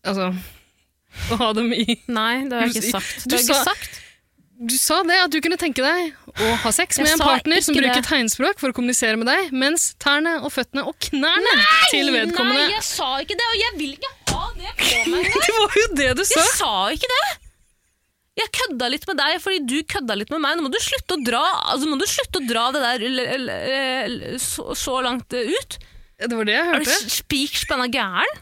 C: Altså å ha dem i
B: Nei, det har jeg ikke
C: Du-
B: sagt.
C: du
B: Det har jeg ikke
C: sa-
B: sagt.
C: Du sa det, at du kunne tenke deg å ha sex
B: Jeg
C: med en
B: sa
C: partner
B: ikke
C: som bruker
B: det.
C: tegnspråk for å kommunisere med deg, mens tærne og føttene og knærne til vedkommende
B: Nei, jeg sa ikke det, og jeg vil ikke ha det på meg.
C: Det var jo det du sa!
B: Jeg sa ikke det! Jeg kødda litt med deg fordi du kødda litt med meg. Nå må du slutte å dra, altså, må du slutte å dra det der l- l- l- så, så langt eh, ut.
C: Det var det jeg
B: Er du
C: hørte.
B: s- spik spenna gæren?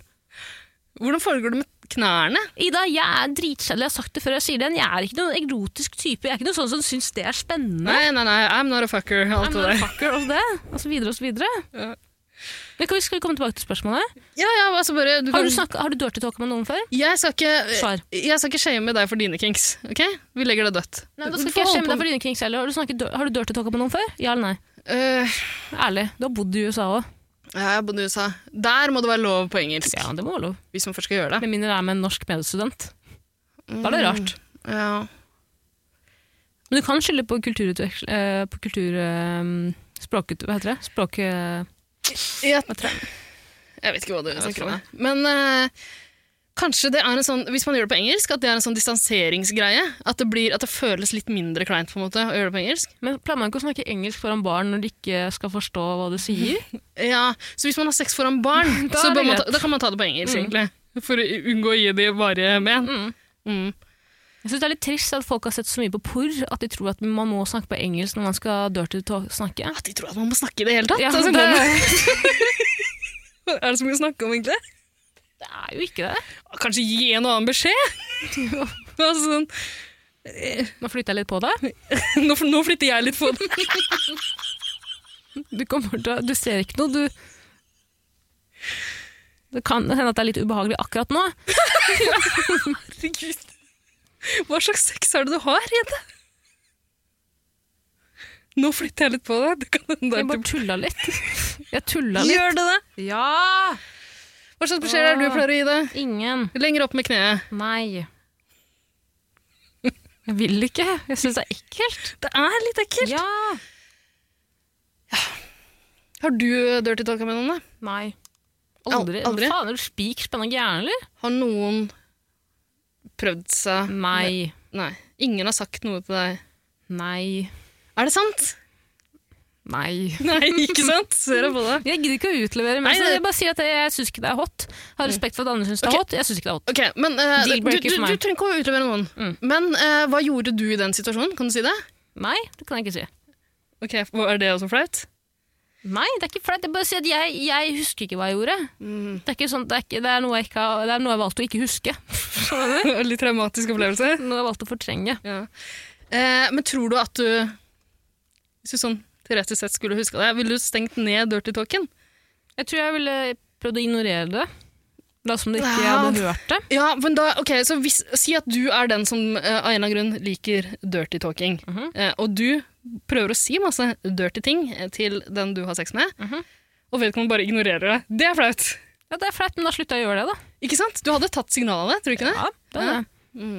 C: Hvordan foregår det med knærne?
B: Ida, jeg er dritkjedelig. Jeg har sagt det før, jeg sier det igjen. Jeg er ikke noen erotisk type. Jeg er ikke noen sånn som syns det er spennende.
C: Nei, nei, nei, I'm not a fucker. Alt
B: I'm
C: det
B: not a
C: der.
B: fucker, og så det. Og så videre og så videre.
C: Ja.
B: Men kan vi- Skal vi komme tilbake til spørsmålet?
C: Ja, ja, altså bare du
B: Har
C: kan...
B: du, snakket, har du dirty talka med noen før?
C: Jeg skal ikke eh,
B: Svar.
C: Jeg skal ikke shame deg for dine kinks. ok? Vi legger det dødt.
B: Nei, da
C: Du
B: skal
C: får
B: ikke jeg
C: holde
B: skjemme
C: på
B: deg for dine kings heller. Har du, snakket, har du dirty talka med noen før? Ja eller nei?
C: med- Øh,
B: Ærlig. Du har bodd i USA òg.
C: ja, jeg bodde i USA. Der må det være lov på engelsk.
B: Ja, det må være lov.
C: Hvis man først skal gjøre det.
B: Med mindre det er med en norsk medstudent. Da er det rart.
C: Mm, Ja.
B: Men du kan skylde på kulturutveksling eh, På kultur... Eh, språkut... Hva heter det? Språk... eh,
C: Jeg, jeg vet ikke hva du
B: vet
C: snakker
B: ikke
C: om. Men øh, kanskje det er en sånn, hvis man gjør det på engelsk, at det er en sånn distanseringsgreie. At det, blir, at det føles litt mindre kleint på en måte å gjøre det på engelsk.
B: Men pleier man ikke å snakke engelsk foran barn når de ikke skal forstå hva du sier?
C: Ja, så hvis man har sex foran barn,
B: Da
C: så
B: er det
C: bør man ta,
B: greit.
C: da kan man ta det på engelsk,
B: Mm.
C: egentlig. For å unngå å gi de varige men.
B: Mm.
C: Mm.
B: Jeg synes Det er litt trist at folk har sett så mye på porr at de tror at man må snakke på engelsk når man skal dirty talk snakke.
C: At de tror at man må snakke i det hele tatt.
B: Ja,
C: altså,
B: det-
C: Hva er det så mye å snakke om, egentlig?
B: Det er jo ikke det.
C: Kanskje gi en og annen beskjed? altså, sånn,
B: Nå flytter jeg litt på deg.
C: nå, fl- nå flytter jeg litt på det.
B: Du, kommer til, å- du ser ikke noe, du Det kan hende at det er litt ubehagelig akkurat nå.
C: Herregud. Hva slags sex er det du har, jente? Nå flytter jeg litt på deg. Det kan hende det
B: Jeg
C: er
B: bare tulla litt. Jeg tulla
C: til-
B: litt.
C: Gjør det det?
B: Ja!
C: Hva slags beskjed er det du pleier å gi det?
B: Ingen.
C: Lenger opp med kneet.
B: Nei. Jeg vil ikke. Jeg syns det er ekkelt.
C: Det er litt ekkelt.
B: Ja.
C: Har du dirty talka med noen, da?
B: Nei. Aldri.
C: Al- aldri?
B: Hva faen, er du spik spenna gæren, eller?
C: Har noen prøvd seg
B: Nei.
C: Nei. Ingen har sagt noe til deg.
B: Nei.
C: Er det sant?
B: Nei.
C: Nei, ikke sant? Ser jeg på det.
B: Jeg gidder ikke å utlevere, men altså,
C: Nei, det-
B: jeg bare sier at jeg, jeg syns ikke det er hot. Har respekt for at andre syns det
C: Ok.
B: er hot. Jeg syns ikke det er hot.
C: Ok, men eh, du, du,
B: Dealbreaker
C: du
B: for meg.
C: trenger ikke å utlevere noen.
B: Mm.
C: Men eh, hva gjorde du i den situasjonen? Kan du si det?
B: Nei, det kan jeg ikke si.
C: Ok, Er det også altså flaut?
B: Nei, det er ikke flaut. Jeg bare sier at jeg, jeg husker ikke hva jeg gjorde.
C: Mm.
B: Det er, ikke sånn, det, er ikke, det, er noe jeg ikke, har- det er noe jeg valgte å ikke huske. Skjønner du?
C: Litt traumatisk opplevelse.
B: Noe jeg valgte å fortrenge.
C: Ja. Eh, men tror du at du Hvis du sånn teoretisk sett skulle huska det, ville du stengt ned Dirty Talken?
B: Jeg tror jeg ville prøvd å ignorere det. La som det ikke jeg
C: Ja.
B: hadde hørt det.
C: Ja, men da, ok, så hvis, Si at du er den som eh, av en eller annen grunn liker dirty talking.
B: Mhm.
C: eh, og du prøver å si masse dirty ting eh, til den du har sex med,
B: Mhm.
C: og vedkommende bare ignorerer det. Det er flaut!
B: Ja, Det er flaut, men da slutta jeg å gjøre det, da.
C: Ikke sant? Du hadde tatt signalet, tror du ikke det?
B: Ja, det er det.
C: Mm.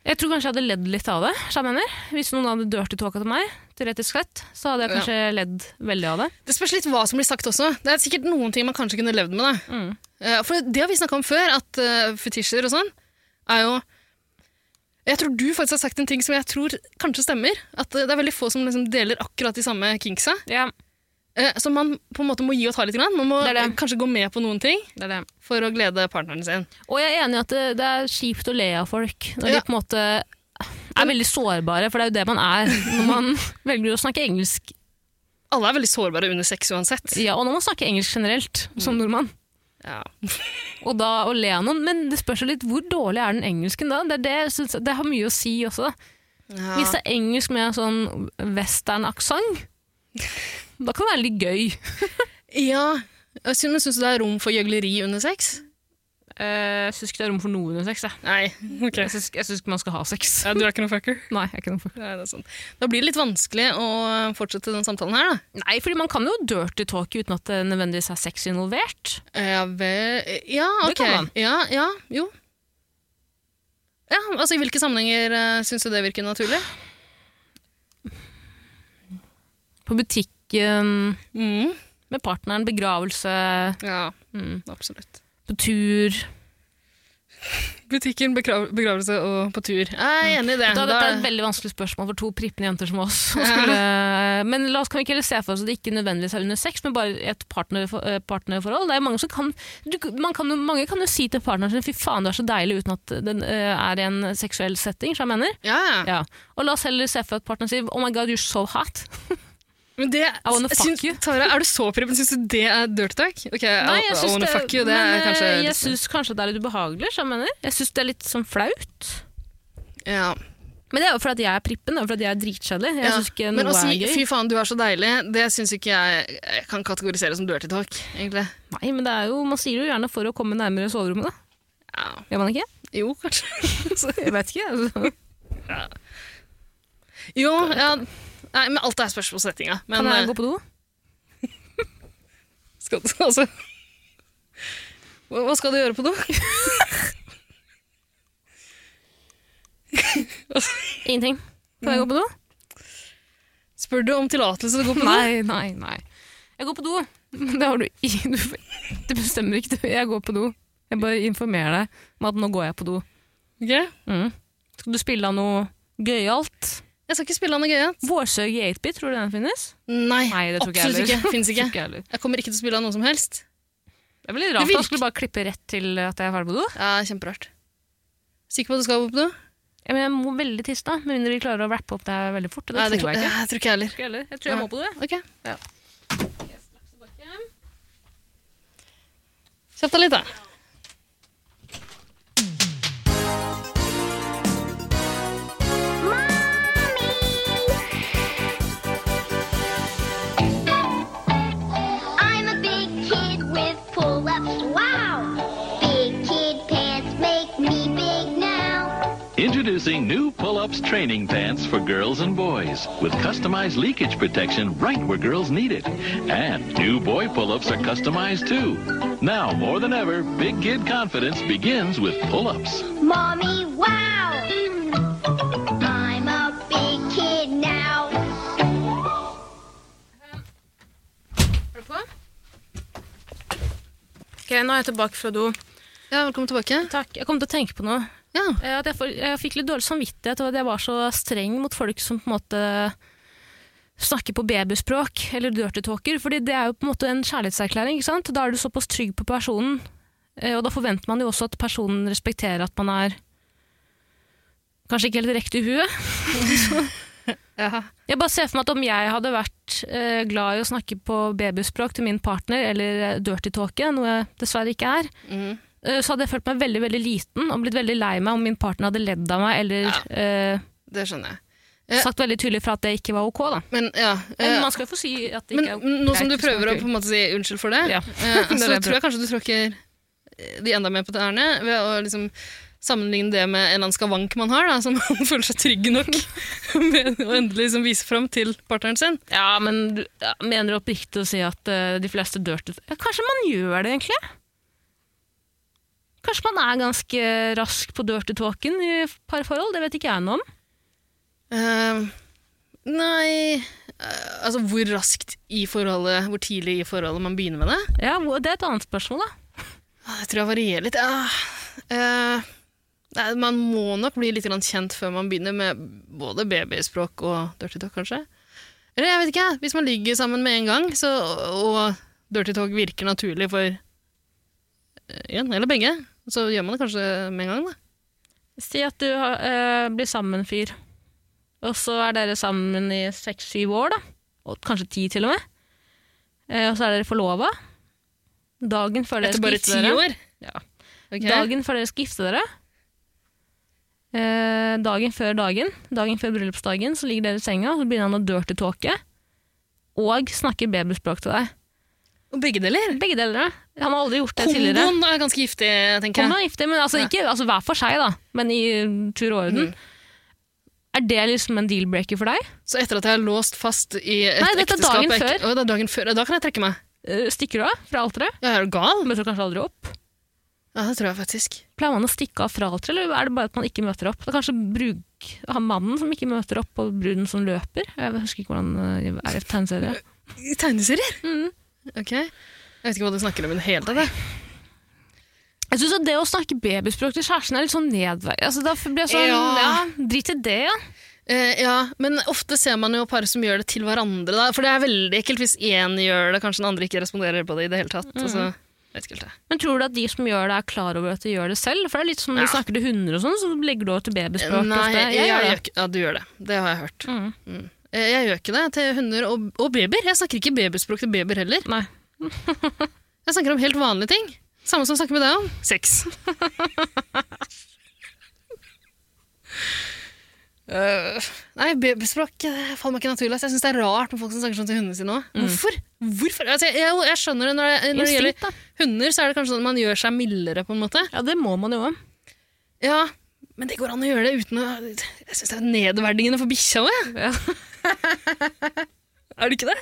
B: Jeg tror kanskje jeg hadde ledd litt av det. så jeg mener. Hvis noen hadde dirty talka til meg, teoretisk sett, så hadde jeg kanskje ledd veldig av det.
C: Det spørs litt hva som blir sagt også. Det er sikkert noen ting man kanskje kunne levd med. Da.
B: Mm.
C: Eh, For det har vi snakka om før, at eh, fetisjer og sånn er jo Jeg tror du faktisk har sagt en ting som jeg tror kanskje stemmer. At eh, det er veldig få som liksom deler akkurat de samme kinksa.
B: Ja,
C: Eh, Så man på en måte må gi og ta litt. Grann. Man må
B: Det er det.
C: eh, kanskje gå med på noen ting
B: det er det.
C: for å glede partneren sin.
B: Og jeg er enig i at det, det er kjipt å le av folk når
C: Ja.
B: de på en måte er veldig sårbare, for det er jo det man er når man velger å snakke engelsk.
C: Alle er veldig sårbare under sex uansett.
B: Ja, og når man snakker engelsk generelt, som nordmann.
C: Ja.
B: Og da å le av noen, men det spørs jo litt hvor dårlig er den engelsken da? Det, er det, jeg synes, det har mye å si også. Hvis det er engelsk med sånn western-aksang, da kan det være litt gøy.
C: ja. Jeg synes- Men syns du det er rom for gjøgleri under sex?
B: Eh, Jeg syns ikke det er rom for noe under sex. Jeg,
C: Nei. ok.
B: jeg, syns, jeg syns ikke man skal ha sex.
C: Ja, du er ikke noen fucker?
B: Nei, jeg er ikke noe for.
C: Nei, det er sant. Da blir det litt vanskelig å fortsette den samtalen her, da.
B: Nei, fordi man kan jo dirty talke uten at det nødvendigvis er sex involvert.
C: Ja, vel Ja, ok.
B: Det kan man.
C: Ja, ja, jo. Ja, altså I hvilke sammenhenger uh, syns du det virker naturlig?
B: På butikken,
C: Mm.
B: med partneren, begravelse,
C: Ja,
B: mm,
C: absolutt.
B: på tur.
C: Butikken, begrav begravelse og på tur. Jeg er enig i det.
B: Mm. Da,
C: Da-
B: dette er et veldig vanskelig spørsmål for to prippende jenter som oss. å Skulle, men la oss, kan vi ikke heller se for oss at det ikke nødvendigvis er under sex, men bare et partnerfor, eh, partnerforhold? Det er jo mange som kan, du, man kan, jo- mange kan jo si til partneren sin 'fy faen, du er så deilig', uten at den eh, er i en seksuell setting. Så jeg mener.
C: ja, ja.
B: Ja. Og la oss heller se for at partneren sier 'oh my god, you're so hot'.
C: Men det
B: wanna fuck
C: syns-
B: you.
C: Tara, er du så prippen? Syns du det er dirty talk? Ok, I, I
B: syns
C: wanna
B: det-
C: fuck you, det
B: men,
C: er kanskje
B: eh, Jeg syns kanskje det er litt ubehagelig, så jeg mener. Jeg syns det er litt sånn flaut.
C: ja.
B: Men det er jo fordi at jeg er prippen, det er fordi at jeg er dritkjedelig. Jeg
C: Ja,
B: syns ikke
C: Men
B: noe
C: å si
B: er gøy.
C: 'fy faen, du er så deilig', det syns ikke jeg, jeg kan kategorisere som dirty talk, egentlig.
B: Nei, men det er jo, man sier jo gjerne for å komme nærmere soverommet, da.
C: Ja.
B: Gjør man ikke?
C: Jo, kanskje.
B: Jeg vet ikke. Altså.
C: Jo, ja. Nei, men alt er spørsmål settinga. Men
B: Kan jeg
C: eh,
B: gå på do?
C: skal du, altså hva, hva skal du gjøre på do?
B: Ingenting. Kan jeg gå på do?
C: Spør du om tillatelse til å gå på do?
B: Nei, nei, nei. Jeg går på do. Men Det har du i- du Du bestemmer ikke, du. Jeg går på do. Jeg bare informerer deg om at nå går jeg på do.
C: Ok.
B: Mm. Skal du spille av noe gøyalt?
C: Jeg skal ikke spille Anne Gøyat.
B: Vårsøg i 8-bit, tror du den finnes?
C: Nei,
B: Nei, det tror ikke jeg
C: absolutt
B: heller.
C: ikke. Fins ikke.
B: Ikke jeg heller.
C: Jeg kommer ikke til å spille av noe som helst.
B: Det er veldig
C: Det
B: rart.
C: virker-
B: Han skulle bare klippe rett til at jeg er ferdig på do.
C: Ja, Kjemperart. Sikker på at du skal gå på do?
B: Ja, men jeg må veldig tisse, da. Med mindre vi klarer å rappe opp det her veldig fort. og Det,
C: Nei, det
B: tror jeg ikke.
C: jeg tror ikke jeg heller.
B: Ikke heller. Jeg tror jeg må på det.
C: Ok.
B: Ja.
C: Kjapp deg litt, da.
E: I'm a big kid with pull ups. Wow! Big kid pants make me big now.
F: Introducing new pull-ups training pants for girls and boys with customized leakage protection right where girls need it. And new boy pull-ups are customized too. Now more than ever, big kid confidence begins with pull-ups.
E: Mommy, wow! I'm a big kid now.
B: Er du på? Ok, nå er jeg tilbake fra do.
C: Ja, Velkommen tilbake.
B: Takk. Jeg kom til å tenke på noe.
C: Ja,
B: Eh, At jeg, får- jeg fikk litt dårlig samvittighet over at jeg var så streng mot folk som på en måte snakker på babyspråk eller dirty talker, fordi det er jo på en måte en kjærlighetserklæring, ikke sant? Da er du såpass trygg på personen, eh, og da forventer man jo også at personen respekterer at man er kanskje ikke helt riktig i huet.
C: Jaha.
B: Jeg bare ser for meg at om jeg hadde vært eh, glad i å snakke på babyspråk til min partner, eller eh, dirty talke, noe jeg dessverre ikke er,
C: Mm.
B: eh, så hadde jeg følt meg veldig veldig liten og blitt veldig lei meg om min partner hadde ledd av meg eller eh,
C: Det skjønner jeg. Ja.
B: sagt veldig tydelig fra at det ikke var ok. Da.
C: Men ja.
B: Men
C: eh,
B: man skal jo få si at det
C: Men
B: ikke er ok.
C: nå som du
B: hvis man
C: prøver å
B: ikke-
C: på en måte si unnskyld for det,
B: Ja.
C: eh,
B: Det er
C: så
B: det jeg
C: tror jeg kanskje du tråkker eh, de enda mer på tærne ved å liksom sammenligne det med en eller annen skavank man har, da, som man føler seg trygg nok med å endelig liksom vise fram til partneren sin.
B: Ja, men du- ja, mener du oppriktig å si at eh, de fleste dirty ja, Kanskje man gjør det, egentlig? Kanskje man er ganske rask på dirty talken i parforhold? Det vet ikke jeg noe om.
C: Eh, nei eh, Altså, hvor raskt i forholdet, hvor tidlig i forholdet man begynner med det?
B: Ja, hvor- Det er et annet spørsmål, da.
C: Ah, Det tror jeg varierer litt. Ja. Eh, nei, man må nok bli litt grann kjent før man begynner med både babyspråk og dirty talk, kanskje. Eller jeg vet ikke, jeg. hvis man ligger sammen med en gang, så, og dirty talk virker naturlig for eh, en eller begge, så gjør man det kanskje med en gang, da.
B: Si at du har, eh, blir sammen med en fyr, og så er dere sammen i seks-syv år, da. Og kanskje ti, til og med. Eh, og så er dere forlova. Dagen før dere
C: Etter
B: skal
C: bare
B: gifte
C: ti
B: dere.
C: år.
B: Ja.
C: Ok.
B: Dagen før dere skal gifte dere. Eh, dagen før dagen, dagen før bryllupsdagen, så ligger dere i senga, og så begynner han å dirty talke. Og snakker babyspråk til deg.
C: Og begge deler.
B: Begge deler. da. Han har aldri gjort det tidligere.
C: Komboen er ganske giftig, tenker
B: Komboen
C: jeg.
B: er giftig, men altså, ikke, altså hver for seg, da. Men i uh, tur og orden. Er det liksom en deal-breaker for deg?
C: Så etter at jeg er låst fast i et
B: Nei, dette er
C: ekteskap
B: dagen
C: jeg ikke-
B: før.
C: Å, det er dagen før. Ja, Da kan jeg trekke meg.
B: Eh, Stikker du av fra alteret?
C: Ja, er du gal?
B: Møter du kanskje aldri opp?
C: Ja, det tror jeg faktisk.
B: Pleier man å stikke av fra alteret, eller er det bare at man ikke møter opp? Det er kanskje brug, han mannen som ikke møter opp, og bruden som løper? Jeg husker ikke hvordan eh, det er i tegneserie.
C: I tegneserier? Ok. Jeg vet ikke hva du snakker om i det hele tatt. jeg.
B: Jeg synes at Det å snakke babyspråk til kjæresten er litt sånn nedvei. Altså, da blir jeg sånn,
C: Ja.
B: ja. Drit i det, ja.
C: Eh, ja, men ofte ser man jo par som gjør det til hverandre. Da. For det er veldig ekkelt hvis én gjør det, kanskje den andre ikke responderer på det i det hele tatt. Altså, jeg vet ikke helt det.
B: Men tror du at de som gjør det, er klar over at de gjør det selv? For det er litt som når du snakker til hunder og sånn, så legger du over til babyspråk.
C: Nei,
B: ofte.
C: jeg,
B: gjør det.
C: gjør ikke- Ja, du gjør det. Det har jeg hørt.
B: Mm.
C: Mm. Eh, Jeg gjør ikke det til hunder og, og babyer. Jeg snakker ikke babyspråk til babyer heller.
B: Nei.
C: Jeg snakker om helt vanlige ting. Samme som jeg snakker med deg om. Sex. Øh, nei, babyspråk det faller meg ikke naturlig. ass. Jeg syns det er rart med folk som snakker sånn til hundene sine òg. Hvorfor? Hvorfor? Altså, jeg, jeg, jeg skjønner det når det, når det
B: Instinkt,
C: gjelder
B: da.
C: hunder, så er det kanskje sånn at man gjør seg mildere, på en måte.
B: Ja, det må man jo.
C: Ja, men det går an å gjøre det uten å Jeg syns det er nedverdigende for bikkja òg, jeg. er det ikke det?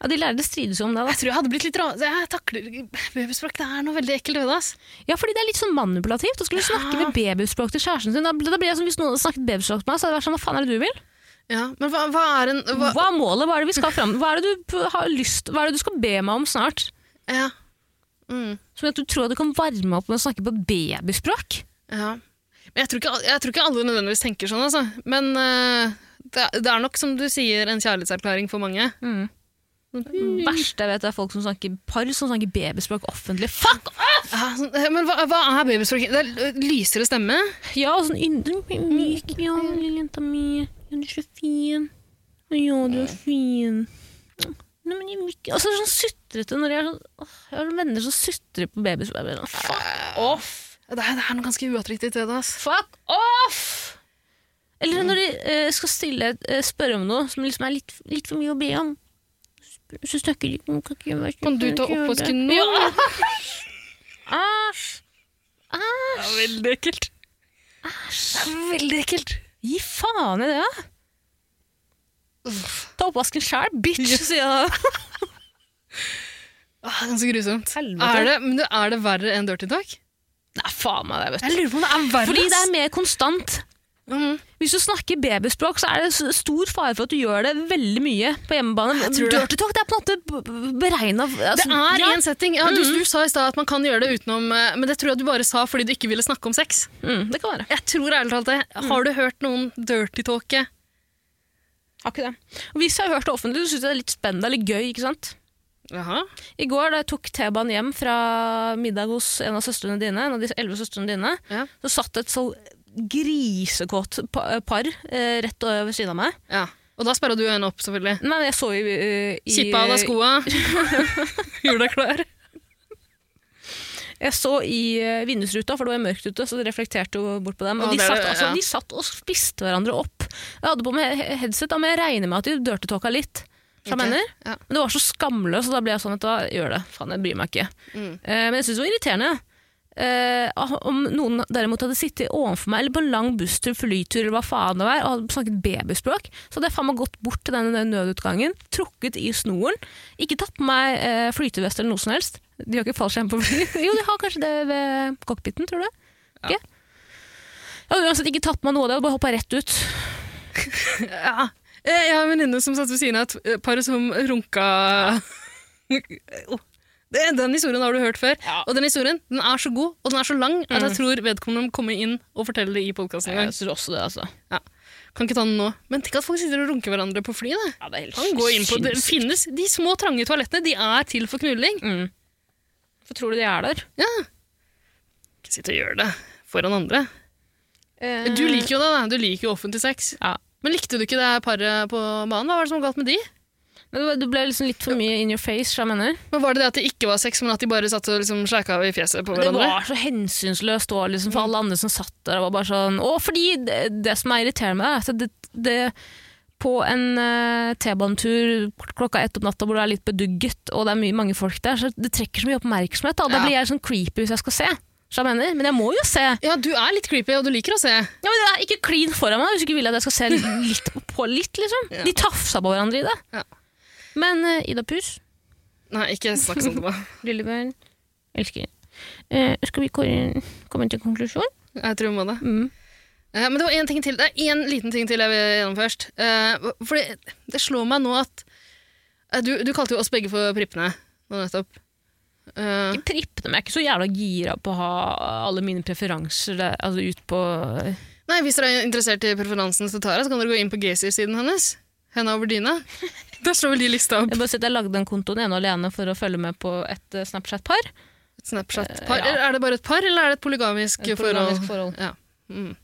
B: Ja, de lærde strides jo om det.
C: Jeg tror jeg hadde blitt litt ra... Jeg takler babyspråk. Det er noe veldig ekkelt ved det, ass.
B: da. Ja, fordi det er litt sånn manipulativt å skulle snakke med babyspråk til kjæresten sin. Da, da blir jeg som Hvis noen hadde snakket babyspråk til meg, så hadde det vært sånn Hva faen er det du vil?
C: Ja, men hva, hva er en hva,
B: Hva er målet? Hva er det vi skal fram Hva er det du har lyst Hva er det du skal be meg om snart?
C: Ja. Mm,
B: Som at du tror at du kan varme opp med å snakke på babyspråk?
C: ja. Men jeg tror, ikke, al- jeg tror ikke alle nødvendigvis tenker sånn, altså. Men eh, det, er- det er nok, som du sier, en kjærlighetserklæring for mange.
B: Det Mm. verste jeg vet, er folk som snakker par som snakker babyspråk offentlig. Fuck!
C: Ja, sånn, eh, men hva, hva er babyspråk? Det er eh, lysere stemme.
B: Ja, og sånn yndre
C: Mm.
B: myk Ja, lille jenta mi. Ja, du er så fin. Ja, du er fin. Nei, men jeg vil ikke Altså, det er sånn sutrete når jeg er sånn åh, Jeg har sånne venner som sutrer på babyspråk. Jeg blir sånn, Fuck off!
C: Det er, det er noe ganske uattraktivt ved det, ass.
B: Fuck off! Eller når de eh, skal stille, eh, spørre om noe som liksom er litt, litt for mye å be om. Så spør- Så snakker de ikke om kan ikke gjøre-
C: Kan du ta
B: ikke gjøre det.
C: oppvasken nå?
B: Ja,
C: Det
B: æsj!
C: er veldig ekkelt. Det er veldig ekkelt.
B: Gi faen i det, da! Ta oppvasken sjæl, bitch! sier jeg da.
C: Åh, Ah, det er ganske grusomt.
B: Helvete.
C: Er det, men du, er det verre enn dirty talk?
B: Nei, faen meg det, vet
C: Jeg
B: du.
C: lurer på om det er verre.
B: Fordi det er mer konstant.
C: Mhm.
B: Hvis du snakker babyspråk, så er det s- stor fare for at du gjør det veldig mye på hjemmebane.
C: tror det.
B: Dirty talk det er på en måte beregna
C: Det er en setting. Ja, du, du sa i stad at man kan gjøre det utenom eh, Men det tror jeg du bare sa fordi du ikke ville snakke om sex.
B: mm, Det kan være.
C: Jeg tror ærlig talt det. Har du hørt noen dirty talke?
B: Har ikke det. Og hvis jeg har hørt det offentlig, så syns jeg det er litt spennende eller gøy. ikke sant?
C: Jaha.
B: I går da jeg tok T-banen hjem fra middag hos en av søstrene dine, en av de elleve søstrene dine,
C: Ja.
B: så satt det et så grisekåt pa- par eh, rett over ved siden av meg.
C: Ja. Og da sperra du øynene opp, selvfølgelig.
B: Nei, men jeg så jo eh, i
C: Kippa av deg skoa. Gjorde deg klar.
B: Jeg så i eh, vindusruta, for det var mørkt ute, så det reflekterte jo bort på dem.
C: Å,
B: Og de,
C: det er
B: satt,
C: det,
B: altså,
C: ja.
B: de satt og spiste hverandre opp. Jeg hadde på meg he- headset, da, men jeg regner med at de dirty-talka litt. Hva
C: Ok,
B: mener?
C: ja.
B: Men det var så skamløst, og da ble jeg sånn at da gjør det. Faen, jeg bryr meg ikke.
C: Mm.
B: Eh, men jeg syns det var irriterende. Eh, om noen derimot hadde sittet ovenfor meg, eller på en lang busstur, flytur, eller hva faen det var, og hadde snakket babyspråk, så hadde jeg faen meg gått bort til denne nødutgangen, trukket i snoren, ikke tatt på meg eh, flytevest eller noe som helst. De har ikke fallskjerm på fly. Jo, de har kanskje det ved cockpiten, tror du? Ikke? Jeg hadde uansett ikke tatt på meg noe av det, jeg hadde bare hoppa rett ut.
C: Ja. Eh, Jeg har en venninne som satt ved siden av et eh, par som runka Oh. det, Den historien har du hørt før. Og den historien den er så god og den er så lang at jeg tror vedkommende må komme inn og fortelle det i podkasten en gang.
B: syns også det, altså.
C: Ja. Kan ikke ta den nå. Men tenk at folk sitter og runker hverandre på fly. Det.
B: Ja, det er helt
C: Kan gå inn på, det
B: sinnssykt.
C: finnes De små, trange toalettene de er til for knulling.
B: Mm. Hvorfor tror du de er der?
C: Ja. Ikke sitt og gjør det foran andre.
B: Eh,
C: Du liker jo det, da. Du liker jo offentlig sex.
B: Ja.
C: Men likte du ikke det her paret på banen? Hva var det som var galt med de?
B: Men det var- det ble liksom litt for mye in your face, som jeg mener.
C: Men Var det det at det ikke var sex, men at de bare satt og liksom slæka i fjeset på
B: Det
C: hverandre?
B: var så hensynsløst også, liksom, for alle andre som satt der. Og var bare sånn, og fordi det, det som er irriterende med det, er at det, det på en eh, T-banetur kl- klokka ett om natta hvor det er litt bedugget og det er mye, mange folk der, så det trekker så mye oppmerksomhet. Da, da
C: Ja.
B: blir jeg sånn creepy hvis jeg skal se. Så jeg mener, men jeg må jo se.
C: Ja, du er litt creepy, og du liker å se.
B: Ja, men det er ikke klin foran meg hvis du ikke vil at jeg skal se litt på litt. liksom. De tafsa på hverandre i det.
C: Ja.
B: Men eh, Ida Pus,
C: Nei, ikke snakk sånn til meg.
B: Lillebjørn, elsker. Eh, skal vi ko- komme til en konklusjon?
C: Jeg tror vi må det.
B: Mm.
C: Eh, Men det var en ting til. Det er én liten ting til jeg vil gjennom først. Eh, For det, det slår meg nå at eh, du, du kalte jo oss begge for prippene nå nettopp. Eh,
B: prippene, men jeg er ikke så jævla gira på å ha alle mine preferanser der, altså ut på
C: Nei, Hvis dere er interessert i preferansen til Tara, så kan dere gå inn på Gacy-siden hennes. Henne over dyna. Der slår vel de lista opp.
B: Jeg bare sier at jeg lagde den kontoen ene og alene for å følge med på et eh, Snapchat-par.
C: Et Snapchat-par.
B: Eh, ja.
C: Eller Er det bare et par, eller er det et polygamisk,
B: Et polygamisk forhold.
C: Ja. Mm.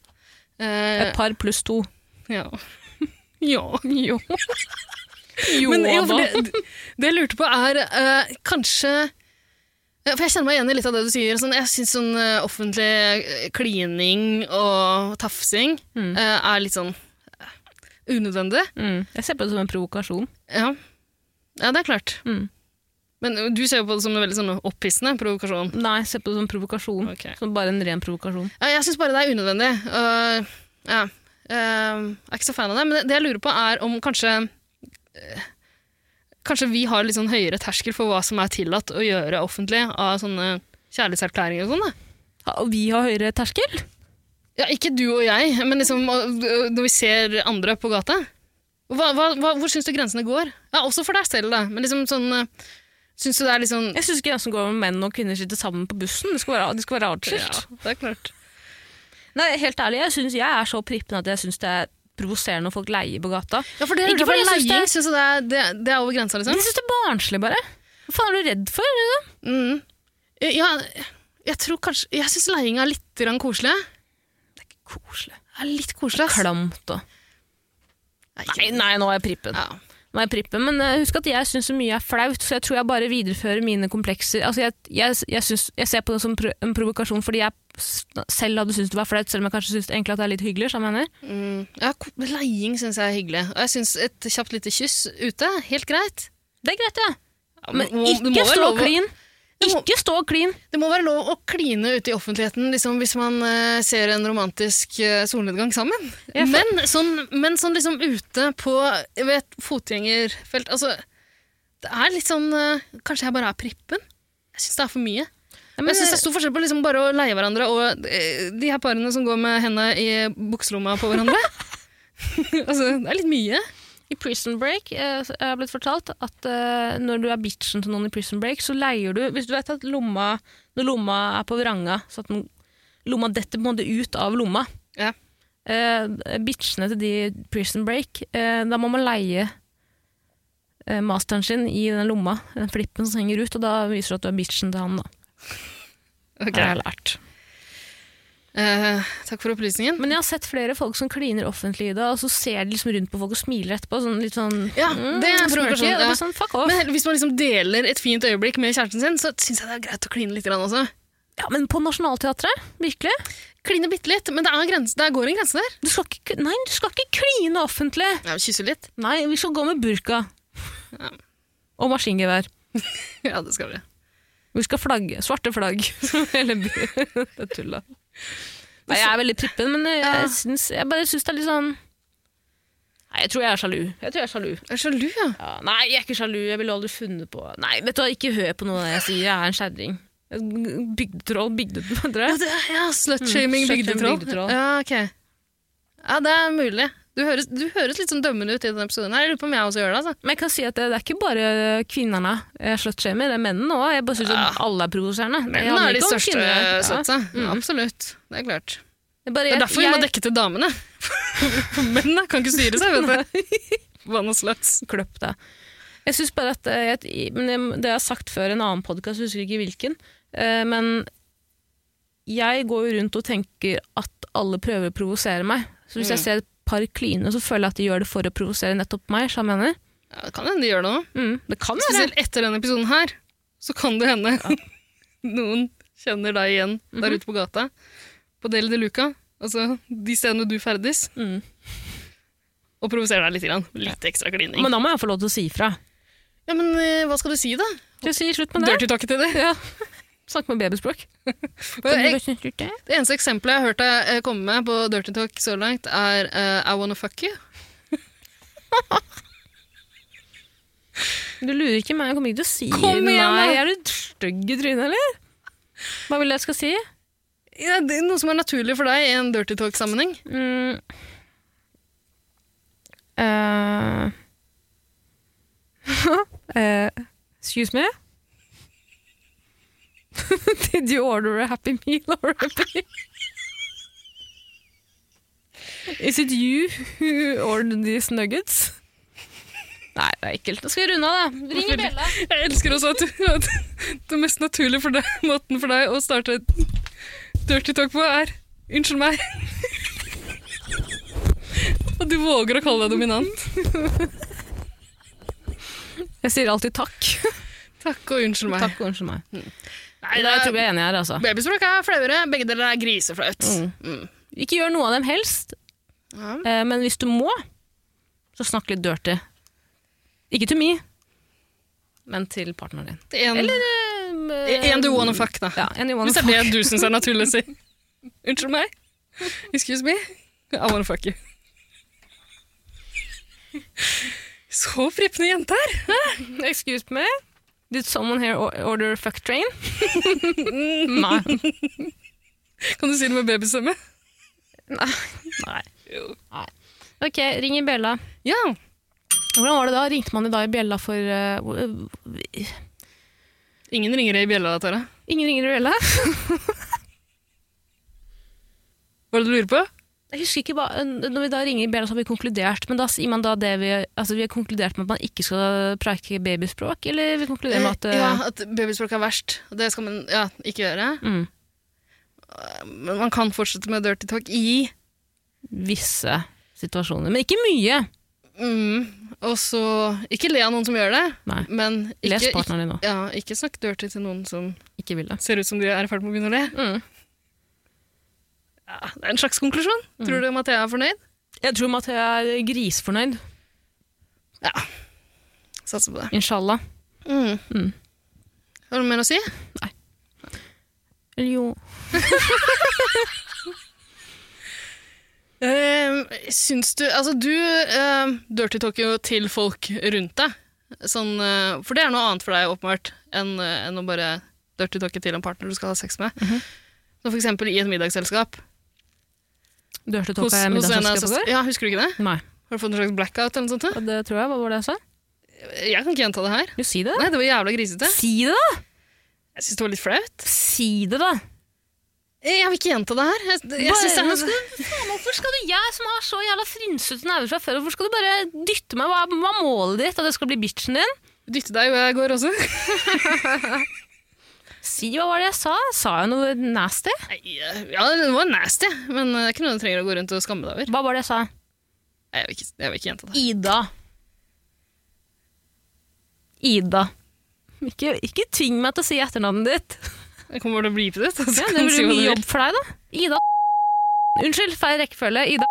C: Eh,
B: Et par pluss to.
C: Ja. ja.
B: Jo. jo
C: Men jo,
B: da.
C: for det, det jeg lurte på, er eh, kanskje ja, For jeg kjenner meg igjen i litt av det du sier. Sånn, jeg syns sånn eh, offentlig eh, klining og tafsing eh, er litt sånn eh, unødvendig.
B: Mm. Jeg ser på det som en provokasjon.
C: Ja. ja, det er klart.
B: Mm.
C: Men eh, du ser jo på det som en veldig sånn opphissende provokasjon.
B: Nei, jeg ser på det som en provokasjon.
C: Ok.
B: Som bare en ren provokasjon.
C: Ja, jeg syns bare det er unødvendig. og, ja. eh, jeg er ikke så fan av det. Men det, det jeg lurer på, er om kanskje eh, Kanskje vi har litt sånn høyere terskel for hva som er tillatt å gjøre offentlig av sånne kjærlighetserklæringer og sånn. da.
B: Ja, og vi har høyere terskel?
C: Ja, ikke du og jeg, men liksom øh, når vi ser andre på gata. Hva, hva, hva, hvor syns du grensene går? Ja, Også for deg selv, da. Men liksom sånn øh, Syns du det er litt sånn
B: Jeg syns ikke grensen går om menn og kvinner sitter sammen på bussen. Det skal være, det skal være
C: Ja,
B: atskilt.
C: det er klart.
B: Nei, helt ærlig, jeg, synes, jeg er så prippen at jeg syns det er provoserende når folk leier på gata.
C: Ja, for det,
B: Ikke
C: ikke for
B: fordi jeg syns det er-
C: leiing syns jeg det er, det, det er over grensa, liksom.
B: Men jeg syns det er barnslig, bare. Hva faen er du redd for? Liksom?
C: Mm. Ja, jeg tror kanskje Jeg syns leiing er litt grann koselig.
B: Koselig.
C: Det er litt koselig, ass.
B: Klamt og Nei, nei, nå er jeg prippen.
C: Ja.
B: Nå er jeg prippen. Men eh, husk at jeg syns så mye er flaut, så jeg tror jeg bare viderefører mine komplekser. Altså, jeg, jeg, jeg, synes, jeg ser på det som pro en provokasjon fordi jeg s- selv hadde syntes det var flaut, selv om jeg kanskje syns egentlig at det er litt hyggelig. skjønner du hva jeg mener.
C: Mm. Ja, ko- leiing syns jeg er hyggelig. Og jeg syns et kjapt lite kyss ute, helt greit.
B: Det er greit, ja.
C: Ja,
B: Men
C: må- det må
B: ikke
C: være
B: stå
C: lov å-
B: klin!
C: Det må-
B: Ikke stå klin!
C: Det må være lov å kline ute i offentligheten liksom, hvis man eh, ser en romantisk eh, solnedgang sammen.
B: Jeg får-
C: Men sånn, men sånn liksom ute på jeg vet, fotgjengerfelt Altså, det er litt sånn eh, Kanskje jeg bare er prippen? Jeg syns det er for mye.
B: Nei,
C: Men jeg synes det er stor forskjell på liksom bare å leie hverandre og eh, de her parene som går med hendene i bukselomma på hverandre. altså, det er litt mye.
B: I Prison Break eh, så- jeg har blitt fortalt at eh, når du er bitchen til noen i Prison Break, så leier du Hvis du vet at lomma, når lomma er på vranga, så at den, lomma detter på en måte ut av lomma
C: Ja.
B: eh, Bitchene til de i Prison Break, eh, da må man leie eh, masteren sin i den lomma, den flippen som henger ut, og da viser du at du er bitchen til han, da.
C: Ok.
B: Det har jeg lært.
C: Eh, takk for opplysningen.
B: Men jeg har sett flere folk som kliner offentlig i det, og så ser de liksom rundt på folk og smiler etterpå. Sånn litt sånn
C: Ja, det er
B: smirky,
C: provokasjon,
B: og det
C: ja.
B: er sånn, fuck off.
C: Men hvis man liksom deler et fint øyeblikk med kjæresten sin, så syns jeg det er greit å kline litt grann også.
B: ja, men på Nationaltheatret? Virkelig?
C: Kline bitte litt, men det er grense, der går en grense der.
B: Du skal ikke, nei, du skal ikke kline offentlig!
C: Ja, Kysse litt.
B: Nei, vi skal gå med burka.
C: Ja.
B: Og maskingevær.
C: Ja, det skal vi.
B: Vi skal flagge. Svarte flagg. Hele byen. Det er tulla. Nei, jeg er veldig prippen, men eh, jeg,
C: Ja.
B: syns, jeg bare syns det er litt sånn Nei, jeg tror jeg er sjalu. Jeg tror jeg er sjalu.
C: Jeg er sjalu, ja.
B: Ja, nei, jeg er ikke sjalu. Jeg ville aldri funnet på Nei, vet du hva, ikke hør på noe av det jeg sier. Jeg er en kjerring. Bygdetroll, bygdetroll.
C: Ja, det er- ja slutshaming,
B: Mm, slutshaming,
C: bygdetroll.
B: bygdetroll.
C: Ja, ok. Ja, det er mulig. Du høres, du høres litt sånn dømmende ut i denne episoden. her. Jeg lurer på om jeg også gjør det. altså.
B: Men jeg kan si at det, det er ikke bare kvinnerne jeg slutshamer, det er mennene òg. Jeg bare syns at alle er provoserende. Det
C: Mennene
B: handler
C: er de
B: ikke om
C: største
B: kvinner.
C: slutsa.
B: Mm.
C: Absolutt. Det er klart.
B: Det er bare-
C: Det er derfor vi må
B: jeg-
C: dekke til damene. For Mennene kan ikke styre seg, vet du. Vann og sluts.
B: kløpp deg. Jeg synes bare at eh, jeg, men jeg- Det jeg har sagt før i en annen podkast, husker ikke hvilken, eh, men jeg går jo rundt og tenker at alle prøver å provosere meg. Så
C: Mm.
B: hvis jeg ser et par kline, så føler jeg at de gjør det for å provosere nettopp meg. Så jeg mener.
C: Ja, det kan hende de gjør noe.
B: Mm, det kan være.
C: Spesielt etter denne episoden her, så kan det hende noen kjenner deg igjen der ute på gata, på Del de Luca, altså de stedene du ferdes,
B: Mm.
C: og provoserer deg litt. Grann. Litt ekstra klining.
B: Men da må jeg få lov til å si ifra.
C: ja, men eh, hva skal du si, da?
B: Skal jeg si slutt med det?
C: Dirty talk til det.
B: Ja. Snakke med babyspråk.
C: Jeg,
B: Jeg,
C: det eneste eksempelet jeg har hørt deg eh, komme med på dirty talk så langt, er eh, I wanna fuck you.
B: Du lurer ikke meg, jeg kommer ikke til å si
C: Kom igjen, da.
B: nei. Er du stygg i trynet, eller? Hva vil jeg skal si?
C: Ja, det er noe som er naturlig for deg i en dirty talk-sammenheng.
B: Mm. Eh. Eh, excuse me? Did you order a Happy Meal or a Happy Is it you who ordered these nuggets? Nei, det er ekkelt. Da skal vi runde av, da. Ring i bjella.
C: Jeg elsker også at, at det mest naturlige for deg, måten for deg å starte et dirty talk på, er Unnskyld meg. Og du våger å kalle deg dominant.
B: Jeg sier alltid takk.
C: Takk og unnskyld meg.
B: Takk og unnskyld meg.
C: Nei,
B: Da tror jeg vi er enige her, altså.
C: Babyspråk er flauere, begge deler er griseflaut.
B: Mm.
C: Mm.
B: Ikke gjør noe av dem helst,
C: Ja.
B: eh, men hvis du må, så snakk litt dirty. Ikke to me, men til partneren din.
C: Det er En,
B: Eller eh,
C: en du wanna fuck, da.
B: Ja, en you wanna
C: Hvis det er
B: fuck.
C: det du syns er naturlig å si. Unnskyld meg. Excuse me. I wanna fuck you. Så frippende jente her!
B: Excuse me. Did someone here or- order a fuck train? Nei.
C: Kan du si det med babystemme?
B: Nei.
C: Jo.
B: Ok, ring i bjella.
C: Ja.
B: Hvordan var det da? Ringte man i dag i bjella for eh, hvor-
C: Ingen ringer i bjella, Tara.
B: Ingen ringer i bjella?
C: Hva er det du lurer på?
B: Jeg husker ikke hva, Når vi da ringer i bjella, så har vi konkludert. Men da sier man da det vi Altså, vi har konkludert med at man ikke skal preike babyspråk, eller vi konkluderer med at eh,
C: ja, at babyspråk er verst. Det skal man ja, ikke gjøre.
B: Mm.
C: Men man kan fortsette med dirty talk i
B: visse situasjoner. Men ikke mye.
C: mm. Og så Ikke le av noen som gjør det,
B: Nei.
C: men
B: Les
C: ikke, ikke,
B: partneren din nå.
C: ja, ikke snakk dirty til noen som
B: Ikke vil det.
C: ser ut som de er i ferd med å begynne å le.
B: Mm.
C: Ja, det er en slags konklusjon. Tror du Mathea er fornøyd?
B: Jeg tror Mathea er grisfornøyd.
C: Satser på det.
B: Inshallah.
C: Mm.
B: Mm.
C: Har du mer å si?
B: Eller jo
C: Um, syns du Altså, du um, dirty talker jo til folk rundt deg. Sånn, uh, for det er noe annet for deg, åpenbart, enn uh, enn å bare dirty talke til en partner du skal ha sex med.
B: Mhm.
C: Som for eksempel i et middagsselskap.
B: Dørte
C: Hos-
B: tåka i
C: hos en av søs-
B: middagsselskapet går?
C: Ja, Husker du ikke det?
B: Nei.
C: Har du fått en slags blackout eller noe sånt? da?
B: Og Det tror jeg. Hva var det jeg sa?
C: Jeg kan ikke gjenta det her.
B: Jo, si det.
C: Nei, det var jævla grisete.
B: Si det, da!
C: Jeg syns det var litt flaut. Eh,
B: Si det, da!
C: Jeg vil ikke gjenta det her. Jeg, jeg
B: Bare-
C: synes det er
B: men- Faen, Hvorfor skal du, jeg som har så jævla frynsete nerver fra før, hvorfor skal du bare dytte meg? Hva er hva er målet ditt? At jeg skal bli bitchen din?
C: Dytte deg hvor jeg går også.
B: Si hva var det jeg sa? Sa jeg noe nasty?
C: Nei, Ja, det var nasty, men det er ikke noe du trenger å gå rundt og skamme deg over.
B: Hva var det jeg sa?
C: Nei, Jeg vil ikke, jeg vil ikke gjenta det.
B: Ida. Ida. Ikke, ikke tving meg til å si etternavnet ditt.
C: Jeg kommer til å blipe det ut. og så
B: Ja,
C: kan
B: det
C: du si
B: blir
C: hva du
B: mye
C: vil.
B: jobb for deg, da. Ida Unnskyld, feil rekkefølge. Ida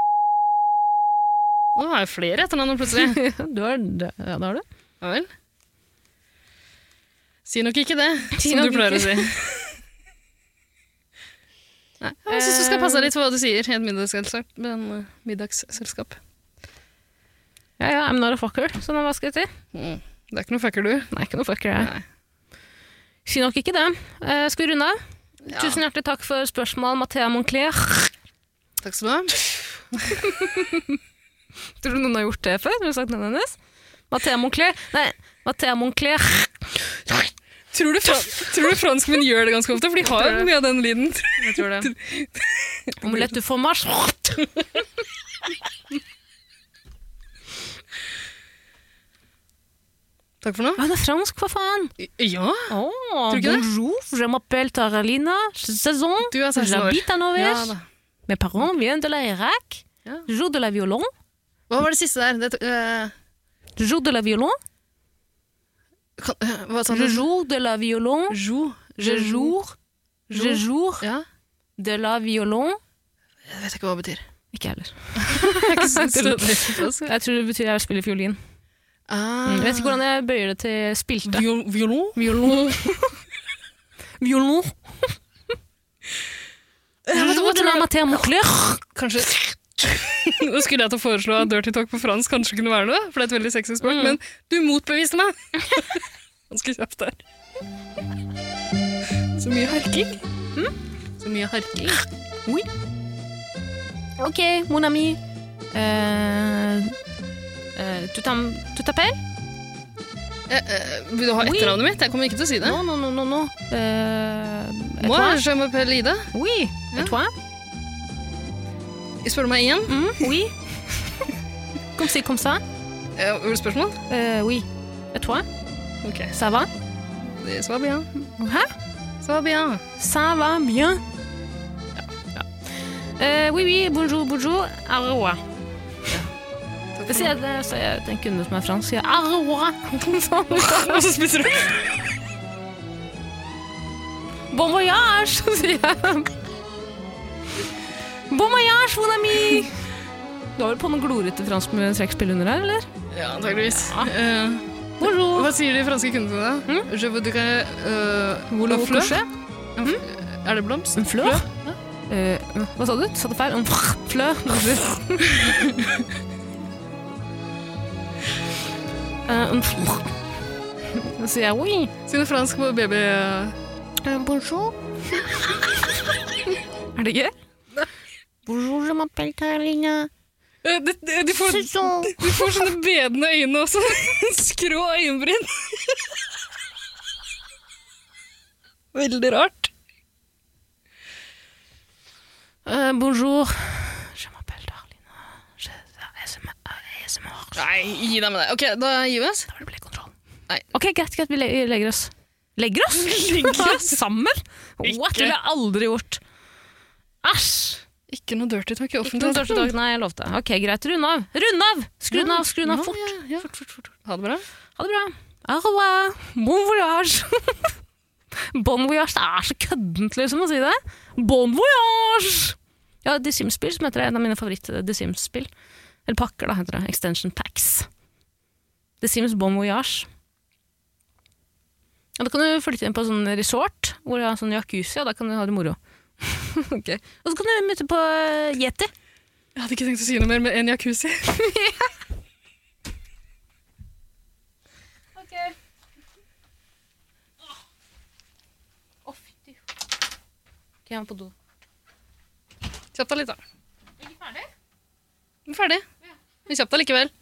C: Nå har jeg flere etternavn nå plutselig.
B: Du har, ja, det har du.
C: Ja vel. Si nok ikke det,
B: Si
C: som
B: nok
C: du pleier å si.
B: ikke.
C: Nei, jeg syns du skal passe deg litt for hva du sier i et middagsselskap. Men, eh, middagsselskap.
B: Ja, ja, I'm not a fucker, så nå, hva skal jeg si?
C: Mm. Det er ikke noe fucker, du.
B: Nei, ikke noe fucker, jeg.
C: Nei.
B: Si nok ikke det. Eh, skal vi runde av? Tusen hjertelig takk for spørsmål, Mathea Moncler.
C: Takk skal du ha.
B: Tror du noen har gjort det før? Har du sagt navnet hennes? Mathea Moncler. Nei, Mathea Moncler.
C: Tror du, fra, tror du franskmenn gjør det ganske ofte? For de har jo mye av den lyden. Jeg tror det.
B: Omelette du fromage.
C: Takk for nå.
B: Hva er det fransk, hva faen?
C: Ja,
B: Oh,
C: du ikke det?
B: bonjour, je m'appelle Taralina. Saison.
C: du er 16 år.
B: J'habite à
C: Ja,
B: Norvège.
C: da.
B: Mes parents viennent de la Irak.
C: Ja.
B: Jour de la violon.
C: Hva var det siste der? Det, eh,
B: Jour de la violon.
C: kan, eh, hva sa du?
B: Le jour de la violon.
C: Jo.
B: Je jour. Je jour
C: Ja.
B: de la violon.
C: Jeg vet ikke hva det betyr.
B: Ikke jeg heller.
C: Ikke
B: Jeg tror det betyr jeg spiller fiolin.
C: Mm. Ah.
B: Jeg vet ikke hvordan jeg bøyer det til spilte.
C: Violon?
B: Violon. violon. Jour de la matin moucler.
C: Kanskje Nå skulle jeg til å foreslå at dirty talk på fransk kanskje kunne være noe, for det er et veldig sexy språk, men du motbeviste meg! Ganske kjapt der. Så mye harking. Hm? Så mye harking.
B: Ok, mon ami. Eh, eh, tu t'am- tu t'appelles?
C: Eh, eh, vil du ha
B: Oui.
C: etternavnet mitt? Jeg kommer ikke til å si det.
B: Non, non, non, non, non. Eh, et
C: Moi,
B: toi?
C: je m'appelle Ida.
B: Oui. Hein Et
C: Ja.
B: toi?
C: Spør du meg igjen?
B: Mm, oui. comme c'est comme ça?
C: Eh, Har du spørsmål?
B: Euh, oui. Et toi?
C: Ok.
B: Ça va?
C: Det svar bien.
B: Hein?
C: Svar bien.
B: Ça va bien. Euh, oui, oui, bonjour, bonjour. euh, Au revoir.
C: Takk
B: Jeg sier det, så jeg tenker kunde som er fransk, sier au revoir. Sånn.
C: Og så spiser du.
B: Bon voyage, sier jeg. Bon voyage, mon ami. Du har vel på noen glorete fransk med trekkspill under her, eller?
C: Ja, antakeligvis.
B: Bonjour.
C: hva sier de franske kundene da? Je voudrais euh,
B: Vouloir
C: en fleur.
B: Hm? coucher? Hm?
C: En f- Er det blomst?
B: En flør? Eh, hva sa du? Sa du feil? En flør? Eh, en flør. Så sier jeg oui.
C: Si noe fransk på baby... eh,
B: Eh, bonjour. er det gøy? Bonjour, je m'appelle Carolina.
C: Eh, det- det- du, får, du får sånne bedende øyne også. Skrå øyenbryn. Veldig rart.
B: Eh, bonjour. Je m'appelle Darlina. Je, ASMR. ASMR.
C: Nei, gi deg med det. Ok, da gir vi oss.
B: Da blir det kontroll.
C: Nei.
B: Ok, greit, greit. Vi le- legger oss. Legger oss? Sammen? What?
C: Ikke.
B: Det ville jeg aldri gjort. Æsj!
C: Ikke noe dirty talk i
B: Ikke noen største
C: offentligheten.
B: dag. Nei, jeg lovte. Ok, greit. Rund av! Rund av! Skru den av, skru den av fort.
C: Ja, ja, ja. fort, fort, fort. Ha det bra.
B: Ha det bra. Au revoir. Bon voyage. bon voyage. Det er så køddent, liksom, å si det. Bon voyage! Ja, The Sims-spill som heter det. En av mine eh, favoritt-The Sims-spill. Eller pakker, da, heter det. Extension packs. The Sims Bon Voyage. Ja, da kan du flytte inn på sånn resort, hvor du har sånn jacuzzi, og da kan du ha det moro. Ok. Og så kan du møte på eh, yeti.
C: Jeg hadde ikke tenkt å si noe mer med en jacuzzi.
B: Ok, jeg må på do.
C: Kjapp deg litt, da. Er du ferdig? Du er ferdig. Men kjapp deg likevel.